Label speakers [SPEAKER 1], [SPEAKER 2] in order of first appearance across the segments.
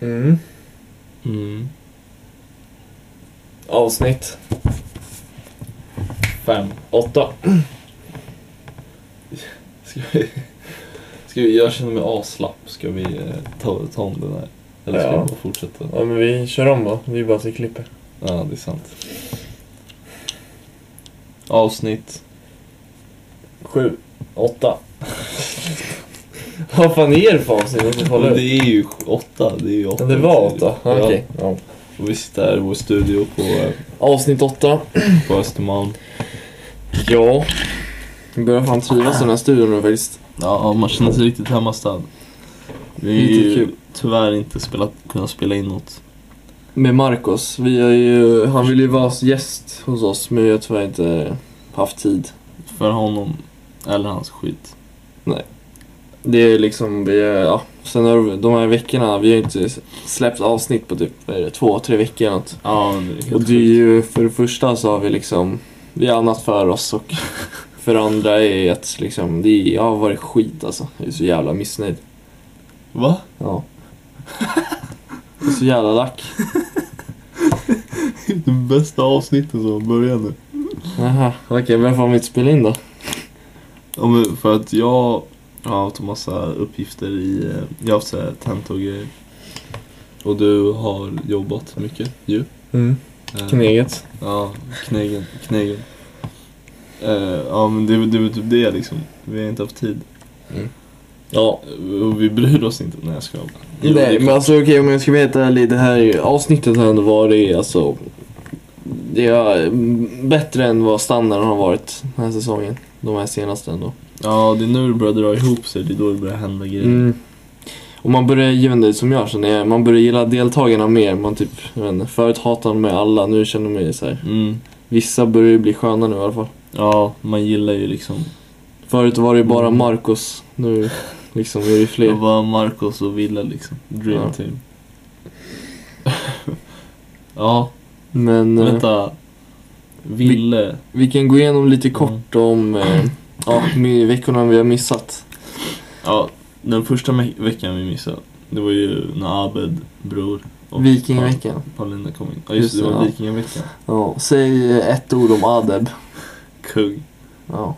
[SPEAKER 1] Mm.
[SPEAKER 2] Mm.
[SPEAKER 3] Avsnitt
[SPEAKER 2] Fem.
[SPEAKER 3] 8.
[SPEAKER 2] Ska vi, ska vi, jag känner mig aslapp. Ska vi eh, ta, ta om den här? Eller ska
[SPEAKER 3] Ja.
[SPEAKER 2] vi bara fortsätta?
[SPEAKER 3] Ja, men vi kör om då. Det är bara att vi klipper.
[SPEAKER 2] Ja, det är sant. Avsnitt.
[SPEAKER 3] 7. 8. Vad fan är det för avsnitt? Jag måste kolla
[SPEAKER 2] Men det
[SPEAKER 3] upp.
[SPEAKER 2] är ju sj- åtta. Det är ju åtta.
[SPEAKER 3] Men det var 8. Ja,
[SPEAKER 2] Ja.
[SPEAKER 3] okej. Ja.
[SPEAKER 2] Och vi sitter här i vår studio på, eh,
[SPEAKER 3] Avsnitt 8.
[SPEAKER 2] på Östermalm.
[SPEAKER 3] Ja. Jag börjar fan trivas i den här studion då faktiskt.
[SPEAKER 2] Ja, man känner sig riktigt hemmastad. Vi har
[SPEAKER 3] Riktigt
[SPEAKER 2] ju
[SPEAKER 3] kul.
[SPEAKER 2] tyvärr inte spelat, kunnat spela in något.
[SPEAKER 3] Med Marcos. Vi är ju, han ville ju vara gäst hos oss men jag har tyvärr inte haft tid.
[SPEAKER 2] För honom eller hans skit.
[SPEAKER 3] Det är liksom, vi är, ja. Sen har de här veckorna, vi har ju inte släppt avsnitt på typ, vad är det, två, tre veckor eller något.
[SPEAKER 2] Ja, men det är
[SPEAKER 3] Och
[SPEAKER 2] helt
[SPEAKER 3] det är
[SPEAKER 2] sjukt.
[SPEAKER 3] ju, för det första så har vi liksom, vi har annat för oss och för det andra är att liksom, det är, jag har varit skit alltså. Jag är så jävla missnöjd.
[SPEAKER 2] Va?
[SPEAKER 3] Ja. Jag är så jävla lack.
[SPEAKER 2] Det är de bästa avsnitten som börjar nu.
[SPEAKER 3] Jaha, okej, varför har vi inte spelat in då?
[SPEAKER 2] Ja, men för att jag har haft en massa uppgifter i... eh, Jag har haft så här tentor och grejer. Och du har jobbat mycket ju.
[SPEAKER 3] Mm.
[SPEAKER 2] Eh,
[SPEAKER 3] Kneget.
[SPEAKER 2] Ja, knegen. knegen. Eh, ja men det, det var typ det liksom. Vi har inte haft tid.
[SPEAKER 3] Mm. Ja.
[SPEAKER 2] Eh, Och vi bryr oss inte. när jag skojar bara. Jo, det
[SPEAKER 3] Nej,
[SPEAKER 2] är
[SPEAKER 3] men alltså okej om jag ska vara helt ärlig, det här avsnittet har ändå varit alltså... Det är mm, bättre än vad standarden har varit den här säsongen. De här senaste ändå.
[SPEAKER 2] Ja, det är nu det börjar dra ihop sig. Det är då det börjar hända grejer.
[SPEAKER 3] Mm. Och man börjar ju ändå, som jag känner, jag, man börjar gilla deltagarna mer. Man typ, jag vet inte, förut hatade man ju alla, nu känner man ju så här.
[SPEAKER 2] Mm.
[SPEAKER 3] Vissa börjar ju bli sköna nu i alla fall.
[SPEAKER 2] Ja, man gillar ju liksom...
[SPEAKER 3] Förut var det ju bara
[SPEAKER 2] Mm.
[SPEAKER 3] Marcus, nu liksom är det
[SPEAKER 2] Det
[SPEAKER 3] fler.
[SPEAKER 2] var Marcos och Villa liksom. Dream
[SPEAKER 3] Ja.
[SPEAKER 2] team. ja,
[SPEAKER 3] Men... eh,
[SPEAKER 2] vänta. Ville.
[SPEAKER 3] Vi kan gå igenom lite
[SPEAKER 2] Mm.
[SPEAKER 3] kort om eh, ja, med veckorna vi har missat.
[SPEAKER 2] Ja, den första me- veckan vi missade. Det var ju när Abed, bror och
[SPEAKER 3] Vikingaveckan.
[SPEAKER 2] Pa- Paulina kom in. Ja just det, det var
[SPEAKER 3] ja.
[SPEAKER 2] vikingaveckan.
[SPEAKER 3] Ja, säg eh, ett ord om Adeb.
[SPEAKER 2] Kung.
[SPEAKER 3] Ja.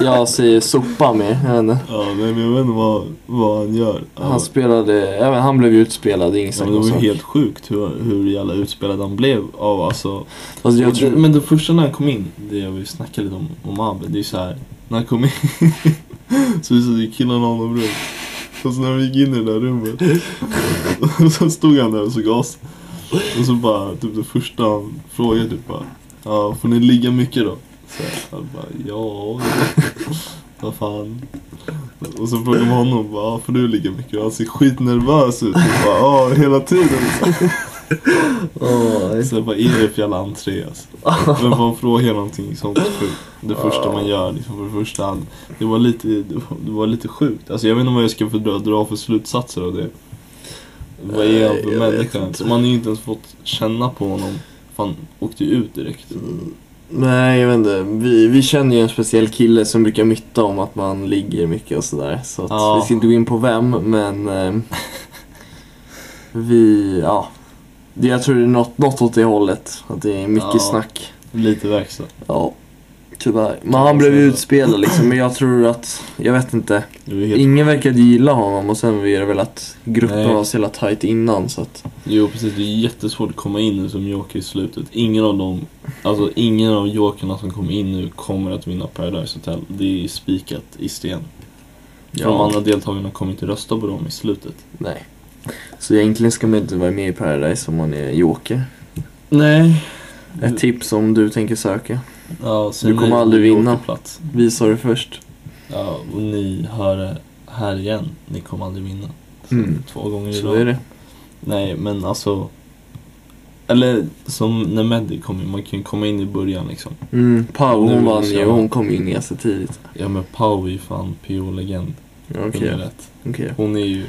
[SPEAKER 3] Jag säger sopa med henne.
[SPEAKER 2] Ja, nej, men jag vet inte vad, vad han gör. Ja,
[SPEAKER 3] Han spelade, även han blev ju utspelad, det är inget
[SPEAKER 2] Ja,
[SPEAKER 3] snack
[SPEAKER 2] men det
[SPEAKER 3] om
[SPEAKER 2] var ju
[SPEAKER 3] saken.
[SPEAKER 2] helt sjukt hur, hur jävla utspelad han blev av alltså...
[SPEAKER 3] Fast jag tror...
[SPEAKER 2] Men det första när han kom in, det jag vill snacka lite om, om Abed, det är ju så här. När han kom in så visade ju killarna honom runt. Och så när vi gick in i det där rummet och så stod han där och såg oss. Och så bara, typ det första han frågade typ bara, ja får ni ligga mycket då? Så jag bara, ja, vad fan. Och så frågade man honom, bara, ja får du ligga mycket? Och han ser skitnervös ut. Och bara, ja hela tiden.
[SPEAKER 3] Åh,
[SPEAKER 2] Så vad är det för jävla entré alltså? Men man frågar någonting sånt sjukt. Det första man gör liksom, för det första hand. Det var lite, det var- det var lite sjukt. Alltså jag vet inte vad jag ska för dra, dra för slutsatser av det. Vad är han
[SPEAKER 3] Nej,
[SPEAKER 2] för
[SPEAKER 3] jag vet
[SPEAKER 2] människa? ens?
[SPEAKER 3] inte.
[SPEAKER 2] Man har ju inte ens fått känna på honom. Fan, åkte ju ut direkt.
[SPEAKER 3] Nej, jag vet inte. Vi, vi känner ju en speciell kille som brukar mytta om att man ligger mycket och sådär. Så att
[SPEAKER 2] Ja.
[SPEAKER 3] vi ska inte gå in på vem, men... Eh, vi, ja. Det- Jag tror det är något, något åt det hållet. Att det är mycket
[SPEAKER 2] Ja.
[SPEAKER 3] snack.
[SPEAKER 2] Lite verkstad.
[SPEAKER 3] Ja, tyvärr. Men han blev ju utspelad liksom. Men jag tror att, jag vet inte.
[SPEAKER 2] Det var helt...
[SPEAKER 3] Ingen verkade gilla honom och sen är det väl att gruppen
[SPEAKER 2] Nej.
[SPEAKER 3] var så jävla tight innan så att...
[SPEAKER 2] Jo precis, det är jättesvårt att komma in nu som joker i slutet. Ingen av dem, alltså ingen av jokerna som kommer in nu kommer att vinna Paradise Hotel. Det är spikat i sten. För De andra deltagarna kommer inte rösta på dem i slutet.
[SPEAKER 3] Nej. Så egentligen ska man inte vara med i Paradise om man är joker.
[SPEAKER 2] Nej.
[SPEAKER 3] Ett tips om du tänker söka.
[SPEAKER 2] Ja, säg
[SPEAKER 3] Du kommer
[SPEAKER 2] nej,
[SPEAKER 3] aldrig
[SPEAKER 2] ni åker
[SPEAKER 3] vinna.
[SPEAKER 2] Plats.
[SPEAKER 3] Visa det först.
[SPEAKER 2] Ja, och ni hör det här igen. Ni kommer aldrig vinna. Så
[SPEAKER 3] Mm.
[SPEAKER 2] Två gånger i
[SPEAKER 3] Så
[SPEAKER 2] rad.
[SPEAKER 3] är det.
[SPEAKER 2] Nej, men alltså. Eller som när Mehdi kom in, man kan ju komma in i början liksom.
[SPEAKER 3] Mm. Pau
[SPEAKER 2] Nu är
[SPEAKER 3] hon
[SPEAKER 2] det
[SPEAKER 3] vann ju,
[SPEAKER 2] så.
[SPEAKER 3] hon kom in ganska tidigt.
[SPEAKER 2] Ja men Pau är ju fan PO-legend.
[SPEAKER 3] Okej,
[SPEAKER 2] Hon är rätt.
[SPEAKER 3] okej.
[SPEAKER 2] Hon är ju...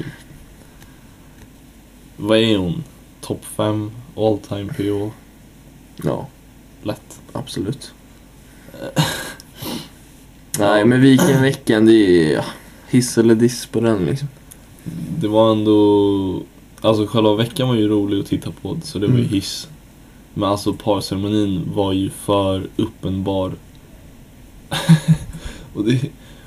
[SPEAKER 2] Vad är hon? Topp 5 all time PO?
[SPEAKER 3] Ja,
[SPEAKER 2] Lätt.
[SPEAKER 3] absolut. Nej men Vikingveckan, det är ja, hiss eller diss på den liksom.
[SPEAKER 2] Det var ändå... alltså själva veckan var ju rolig att titta på så det var ju
[SPEAKER 3] Mm.
[SPEAKER 2] hiss. Men alltså parceremonin var ju för uppenbar. och det,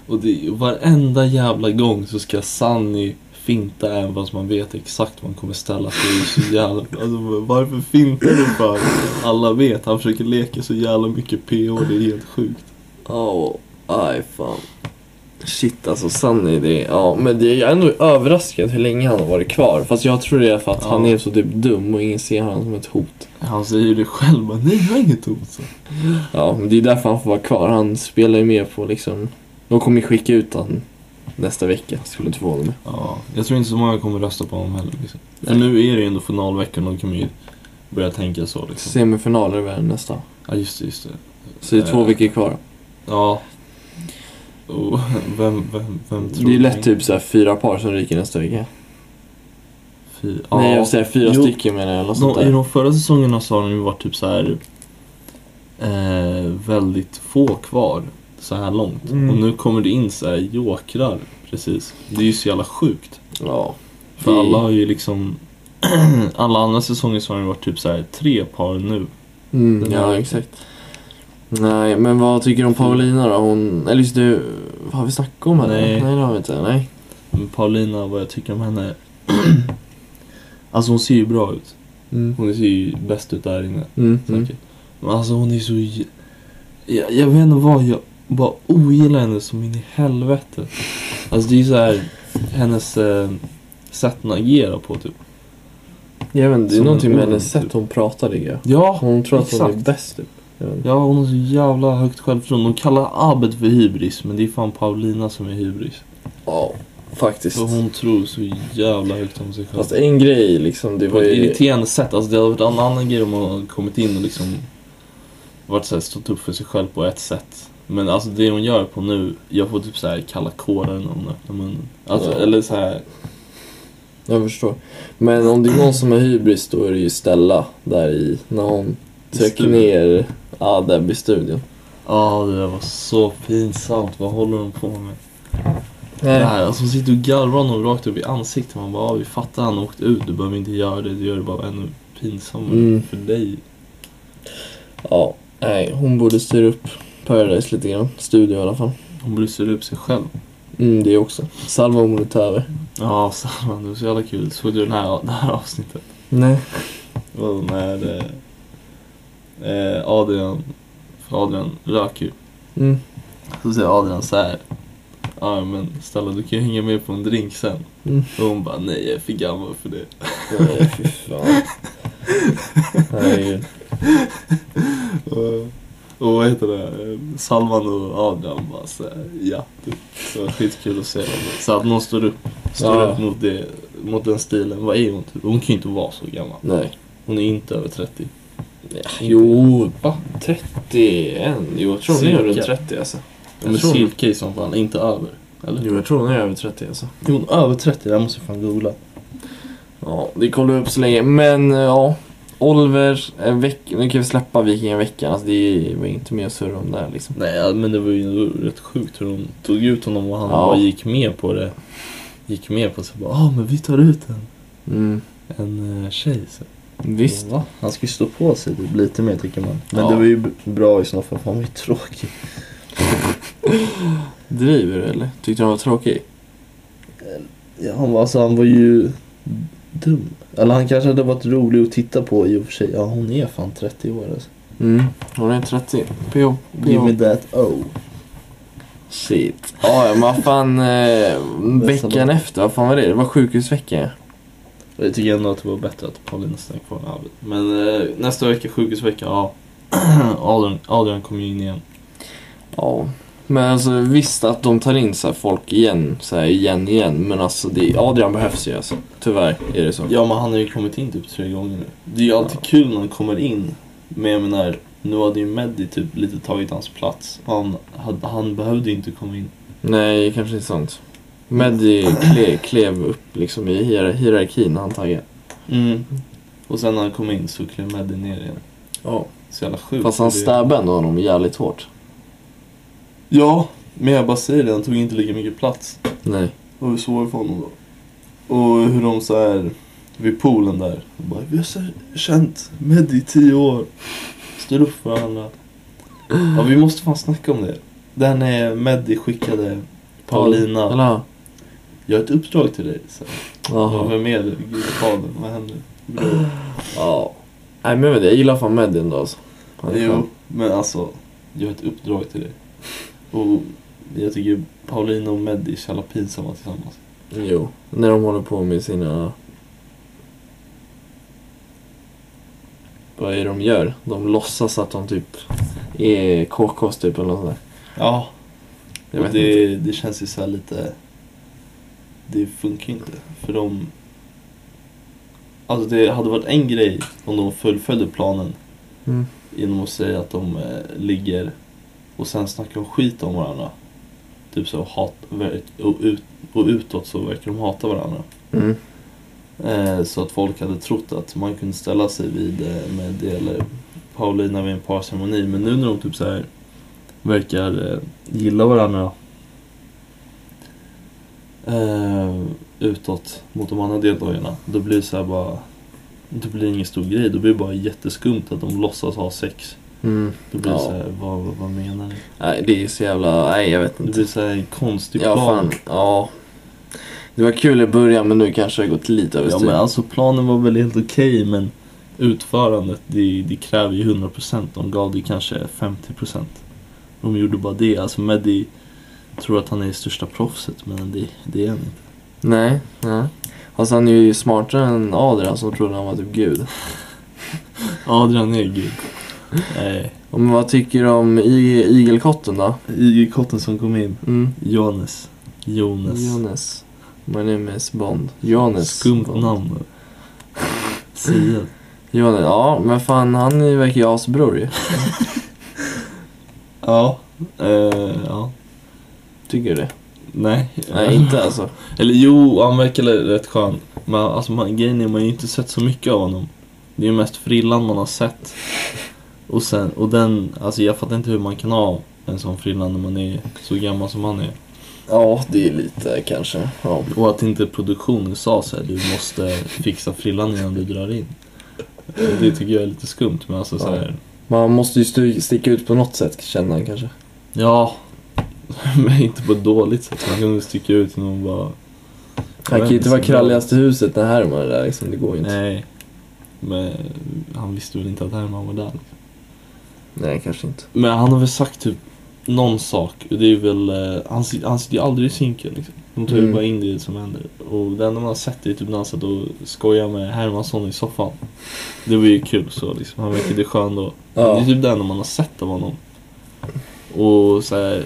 [SPEAKER 2] och det, varenda jävla gång så ska Sunny finta även fast man vet exakt vad han kommer ställa sig i så jävla... Alltså varför fintar du för? Alla vet, han försöker leka så jävla mycket PH, det är helt sjukt.
[SPEAKER 3] Åh, aj fan. Shit alltså Sunny, det ja men det, jag är ändå överraskad hur länge han har varit kvar. Fast jag tror det är för att
[SPEAKER 2] Ja.
[SPEAKER 3] han är så typ dum och ingen ser honom som ett hot.
[SPEAKER 2] Han säger ju det själv, bara, nej jag har inget hot. så.
[SPEAKER 3] Ja, men det är därför han får vara kvar. Han spelar ju med på liksom... De kommer ju skicka ut han nästa vecka, skulle inte förvåna mig.
[SPEAKER 2] Ja, jag tror inte så många kommer rösta på honom heller. Liksom. Men nu är det ju ändå finalveckan och de kommer ju börja tänka så. Liksom.
[SPEAKER 3] Semifinaler är väl nästa.
[SPEAKER 2] Ja, just det, just det.
[SPEAKER 3] Så det är två
[SPEAKER 2] Eh,
[SPEAKER 3] veckor kvar.
[SPEAKER 2] Ja. Och vem, vem, vem tror
[SPEAKER 3] Det är
[SPEAKER 2] du?
[SPEAKER 3] lätt typ såhär fyra par som ryker nästa vecka.
[SPEAKER 2] Fy, ja.
[SPEAKER 3] Nej, jag säger fyra
[SPEAKER 2] Jo.
[SPEAKER 3] stycken menar jag. Eller något sånt
[SPEAKER 2] de, I
[SPEAKER 3] där.
[SPEAKER 2] de förra säsongerna så har de ju varit typ så här eh, väldigt få kvar så här långt.
[SPEAKER 3] Mm.
[SPEAKER 2] Och nu kommer det in så här jokrar precis. Det är ju så jävla sjukt.
[SPEAKER 3] Ja.
[SPEAKER 2] För
[SPEAKER 3] Det-
[SPEAKER 2] alla har ju liksom Alla andra säsonger så har det varit typ så här tre par nu.
[SPEAKER 3] Mm,
[SPEAKER 2] Den
[SPEAKER 3] ja,
[SPEAKER 2] här-
[SPEAKER 3] exakt. Nej, men vad tycker du om Paulina då? Hon, eller just du, har vi snackat om henne?
[SPEAKER 2] Nej.
[SPEAKER 3] Nej, det har vi inte. Nej.
[SPEAKER 2] Men Paulina, vad jag tycker om henne. alltså hon ser ju bra ut.
[SPEAKER 3] Mm.
[SPEAKER 2] Hon ser ju bäst ut där inne.
[SPEAKER 3] Mm. Mm.
[SPEAKER 2] Säkert. Men alltså hon är så... jä- Jag, jag vet inte vad, jag bara ogillar henne som in i helvete. Alltså det är ju så här hennes eh, sätt att agera på typ.
[SPEAKER 3] Jag vet inte, det är
[SPEAKER 2] Som
[SPEAKER 3] någonting med
[SPEAKER 2] en-
[SPEAKER 3] hennes sätt hon pratar tycker jag.
[SPEAKER 2] Ja,
[SPEAKER 3] Hon tror att hon är
[SPEAKER 2] Exakt.
[SPEAKER 3] bäst typ. Jag vet inte.
[SPEAKER 2] ja hon har så jävla högt självförtroende. Hon kallar Abed för hybris men det är fan Paulina som är hybris.
[SPEAKER 3] Ja, faktiskt.
[SPEAKER 2] För hon tror så jävla högt om sig själv.
[SPEAKER 3] Fast en grej liksom, det
[SPEAKER 2] på
[SPEAKER 3] var
[SPEAKER 2] ett
[SPEAKER 3] ju...
[SPEAKER 2] irriterande sätt. Alltså det hade varit en annan grej om hon hade kommit in och liksom varit så här, stått upp för sig själv på ett sätt. Men alltså det hon gör på nu, jag får typ så här kalla kårar när hon öppnar munnen. Alltså,
[SPEAKER 3] Ja.
[SPEAKER 2] Eller så här,
[SPEAKER 3] Jag förstår. Men om det är någon som har hybris då är det ju Stella där i, när hon trycker
[SPEAKER 2] Studion.
[SPEAKER 3] ner Adeb i studion.
[SPEAKER 2] ja det där var så pinsamt. Vad håller hon på med? Det
[SPEAKER 3] Nej.
[SPEAKER 2] här, alltså hon sitter och garvar honom rakt upp i ansiktet. Man bara, ja, vi fattar han har åkt ut. Du behöver inte göra det. Du gör det bara ännu pinsammare
[SPEAKER 3] Mm.
[SPEAKER 2] för dig.
[SPEAKER 3] Ja, nej, hon borde styra upp Paradise lite grann. Studio i alla fall.
[SPEAKER 2] Hon bryter upp sig själv.
[SPEAKER 3] Mm, det också. Salva om det tar över.
[SPEAKER 2] Ja, Salman, det var så jävla kul. Såg du den här, det här avsnittet?
[SPEAKER 3] Nej.
[SPEAKER 2] Det var när eh, eh, Adrian, för Adrian rök ju.
[SPEAKER 3] Mm.
[SPEAKER 2] Så säger Adrian så här. Ja men Stella du kan ju hänga med på en drink sen.
[SPEAKER 3] Mm.
[SPEAKER 2] Och hon bara nej jag är för gammal för det.
[SPEAKER 3] Nej, fy fan. Herregud.
[SPEAKER 2] Och, och vad heter det? Eh, Salman och Adrian bara så här, ja. Typ. Det var skitkul att se dem. Så att någon står upp, står
[SPEAKER 3] Ja.
[SPEAKER 2] upp mot, det, mot den stilen. Vad är hon typ? Hon kan ju inte vara så gammal.
[SPEAKER 3] Nej.
[SPEAKER 2] Hon är inte över 30.
[SPEAKER 3] Jo, va? 31? Jo, jag tror hon är
[SPEAKER 2] Cirka.
[SPEAKER 3] över 30 alltså.
[SPEAKER 2] Hon är
[SPEAKER 3] tror hon-
[SPEAKER 2] silkig som fan, inte över. Eller?
[SPEAKER 3] Jo, jag tror hon är över 30 alltså.
[SPEAKER 2] Är hon över 30? Det här måste jag fan googla.
[SPEAKER 3] Ja, det kollar vi upp så länge. Men eh, ja, Oliver, en veck... nu kan vi släppa Vikingavecken. Alltså, det var inte mer att surra om där liksom.
[SPEAKER 2] Nej, ja, men det var ju ändå rätt sjukt hur de tog ut honom och han
[SPEAKER 3] Ja.
[SPEAKER 2] bara gick med på det. Gick med på så bara, ah men vi tar ut en,
[SPEAKER 3] Mm.
[SPEAKER 2] en eh, tjej. Så.
[SPEAKER 3] Visst.
[SPEAKER 2] Va? Han ska ju stå på sig typ, lite mer tycker man. Men
[SPEAKER 3] Ja.
[SPEAKER 2] det var ju b- bra i sådana fall, för han var ju tråkig.
[SPEAKER 3] Driver du eller? Tyckte han var tråkig?
[SPEAKER 2] Ja, han, var, alltså, han var ju dum. Eller han kanske hade varit rolig att titta på i och för sig. Ja, hon är fan 30 år alltså.
[SPEAKER 3] Mm. Hon är 30. PH.
[SPEAKER 2] Give me that O.
[SPEAKER 3] Shit. Ja, ja, men vad fan. Eh, veckan
[SPEAKER 2] bara-
[SPEAKER 3] efter, vad fan var det? Det var sjukhusvecka.
[SPEAKER 2] Och Jag tycker ändå att det var bättre att Paulina stannade kvar än Abed. Men eh, nästa vecka, sjukhusvecka, ja. Adrian, Adrian kommer ju in igen.
[SPEAKER 3] Ja. Men alltså visst att de tar in så här folk igen, så här igen, igen. Men alltså det, Adrian behövs ju alltså. Tyvärr är det så.
[SPEAKER 2] Ja men han har ju kommit in typ tre gånger nu. Det är ju alltid
[SPEAKER 3] Ja.
[SPEAKER 2] kul när han kommer in. Men jag menar, nu hade ju Meddi typ lite tagit hans plats. Han, hade- han behövde ju inte komma in.
[SPEAKER 3] Nej, kanske inte sant. Meddi kle, klev upp liksom i hier- hierarkin antagligen. Mm.
[SPEAKER 2] Och sen när han kom in så klev Meddi ner igen.
[SPEAKER 3] Ja.
[SPEAKER 2] Så jävla sjukt.
[SPEAKER 3] Fast han
[SPEAKER 2] Det-
[SPEAKER 3] stabbade ändå honom jävligt hårt.
[SPEAKER 2] Ja, men jag bara säger det, han tog inte lika mycket plats.
[SPEAKER 3] Nej.
[SPEAKER 2] Och hur svårt för honom då. Och hur de så här vid poolen där. Och bara, vi har så känt Meddi i tio år. Står upp för varandra. Ja, vi måste fan snacka om det. Den är Meddi skickade Paulina.
[SPEAKER 3] Eller?
[SPEAKER 2] Jag har ett uppdrag till dig. Så. Ja,
[SPEAKER 3] Jaha.
[SPEAKER 2] vem är du? Gud, fadern, vad händer? Bror.
[SPEAKER 3] Ja. Nej men jag vet inte, jag gillar fan Meddi ändå alltså. Han är
[SPEAKER 2] Jo,
[SPEAKER 3] skön.
[SPEAKER 2] men alltså. Jag har ett uppdrag till dig. Och jag tycker Paulina och Meddi är så jävla pinsamma tillsammans.
[SPEAKER 3] Jo. När de håller på med sina... Vad är det de gör? De låtsas att de typ är KKs typ eller något sånt där.
[SPEAKER 2] Ja,
[SPEAKER 3] Jag
[SPEAKER 2] och
[SPEAKER 3] vet inte.
[SPEAKER 2] det, det känns ju så här lite... Det funkar ju inte. För de... Alltså det hade varit en grej om de fullföljde planen
[SPEAKER 3] Mm.
[SPEAKER 2] genom att säga att de eh, ligger och sen snackar de skit om varandra. Typ så hat, ver- och, ut, och utåt så verkar de hata varandra.
[SPEAKER 3] Mm.
[SPEAKER 2] Eh, så att folk hade trott att man kunde ställa sig vid eh, med det eller Paulina vid en parceremoni. Men nu när de typ så här verkar eh, gilla varandra eh, utåt mot de andra deltagarna. Då blir det så här bara då blir det ingen stor grej. Då blir det bara jätteskumt att de låtsas ha sex.
[SPEAKER 3] Mm.
[SPEAKER 2] Då blir det
[SPEAKER 3] Ja.
[SPEAKER 2] så här, vad, vad menar ni?
[SPEAKER 3] Nej det är så jävla... Nej jag vet
[SPEAKER 2] Det
[SPEAKER 3] inte.
[SPEAKER 2] blir så här en konstig
[SPEAKER 3] Ja
[SPEAKER 2] plan.
[SPEAKER 3] fan. Ja. Det var kul i början men nu kanske det har gått lite
[SPEAKER 2] Ja
[SPEAKER 3] överstyr.
[SPEAKER 2] men alltså planen var väl helt okej men utförandet det, det kräver ju 100%. De gav det kanske 50%. De gjorde bara det. Alltså Meddi tror att han är det största proffset men det, det är han inte.
[SPEAKER 3] Nej, nej. Fast han är ju smartare än Adrian som trodde han var typ gud.
[SPEAKER 2] Adrian är gud. Nej.
[SPEAKER 3] Och men vad tycker du om i- igelkotten då?
[SPEAKER 2] IG-kotten som kom in.
[SPEAKER 3] Mm.
[SPEAKER 2] Jonas. Jonas.
[SPEAKER 3] Jonas. My name is Bond. Jonas.
[SPEAKER 2] Skumt
[SPEAKER 3] Bond.
[SPEAKER 2] namn. Sia.
[SPEAKER 3] Jonas. Ja, men fan han är- verkar ju asbror ju.
[SPEAKER 2] Ja. Eh, ja.
[SPEAKER 3] Tycker du det?
[SPEAKER 2] Nej.
[SPEAKER 3] Nej, inte alltså.
[SPEAKER 2] Eller jo, han verkar rätt skön. Men alltså, man, grejen är man har ju inte sett så mycket av honom. Det är ju mest frillan man har sett. Och, sen, och den, alltså jag fattar inte hur man kan ha en sån frilla när man är så gammal som han är.
[SPEAKER 3] Ja, det är lite kanske. Ja.
[SPEAKER 2] Och att inte produktionen sa så här, du måste fixa frillan innan du drar in. Det tycker jag är lite skumt men alltså så här,
[SPEAKER 3] Man måste ju stu- sticka ut på något sätt känner han kanske.
[SPEAKER 2] ja. Men inte på ett dåligt sätt, man kan väl sticka ut och någon bara,
[SPEAKER 3] Han kan ju inte
[SPEAKER 2] Vem
[SPEAKER 3] vara
[SPEAKER 2] är så bra?
[SPEAKER 3] kralligast i huset när Herman är där liksom. Det går ju inte.
[SPEAKER 2] nej. Men han visste väl inte att Herman var där.
[SPEAKER 3] nej kanske inte.
[SPEAKER 2] Men han har väl sagt typ någon sak. Det är väl, eh, han, sit- han sitter ju aldrig i sinken liksom. De tar ju
[SPEAKER 3] Mm.
[SPEAKER 2] bara in det som händer. Och det enda man har sett är typ när han satt och skojade med Hermansson i soffan. Det var ju kul så liksom. Han verkade skön då.
[SPEAKER 3] Ja.
[SPEAKER 2] Det är typ det enda man har sett av honom. Och så här,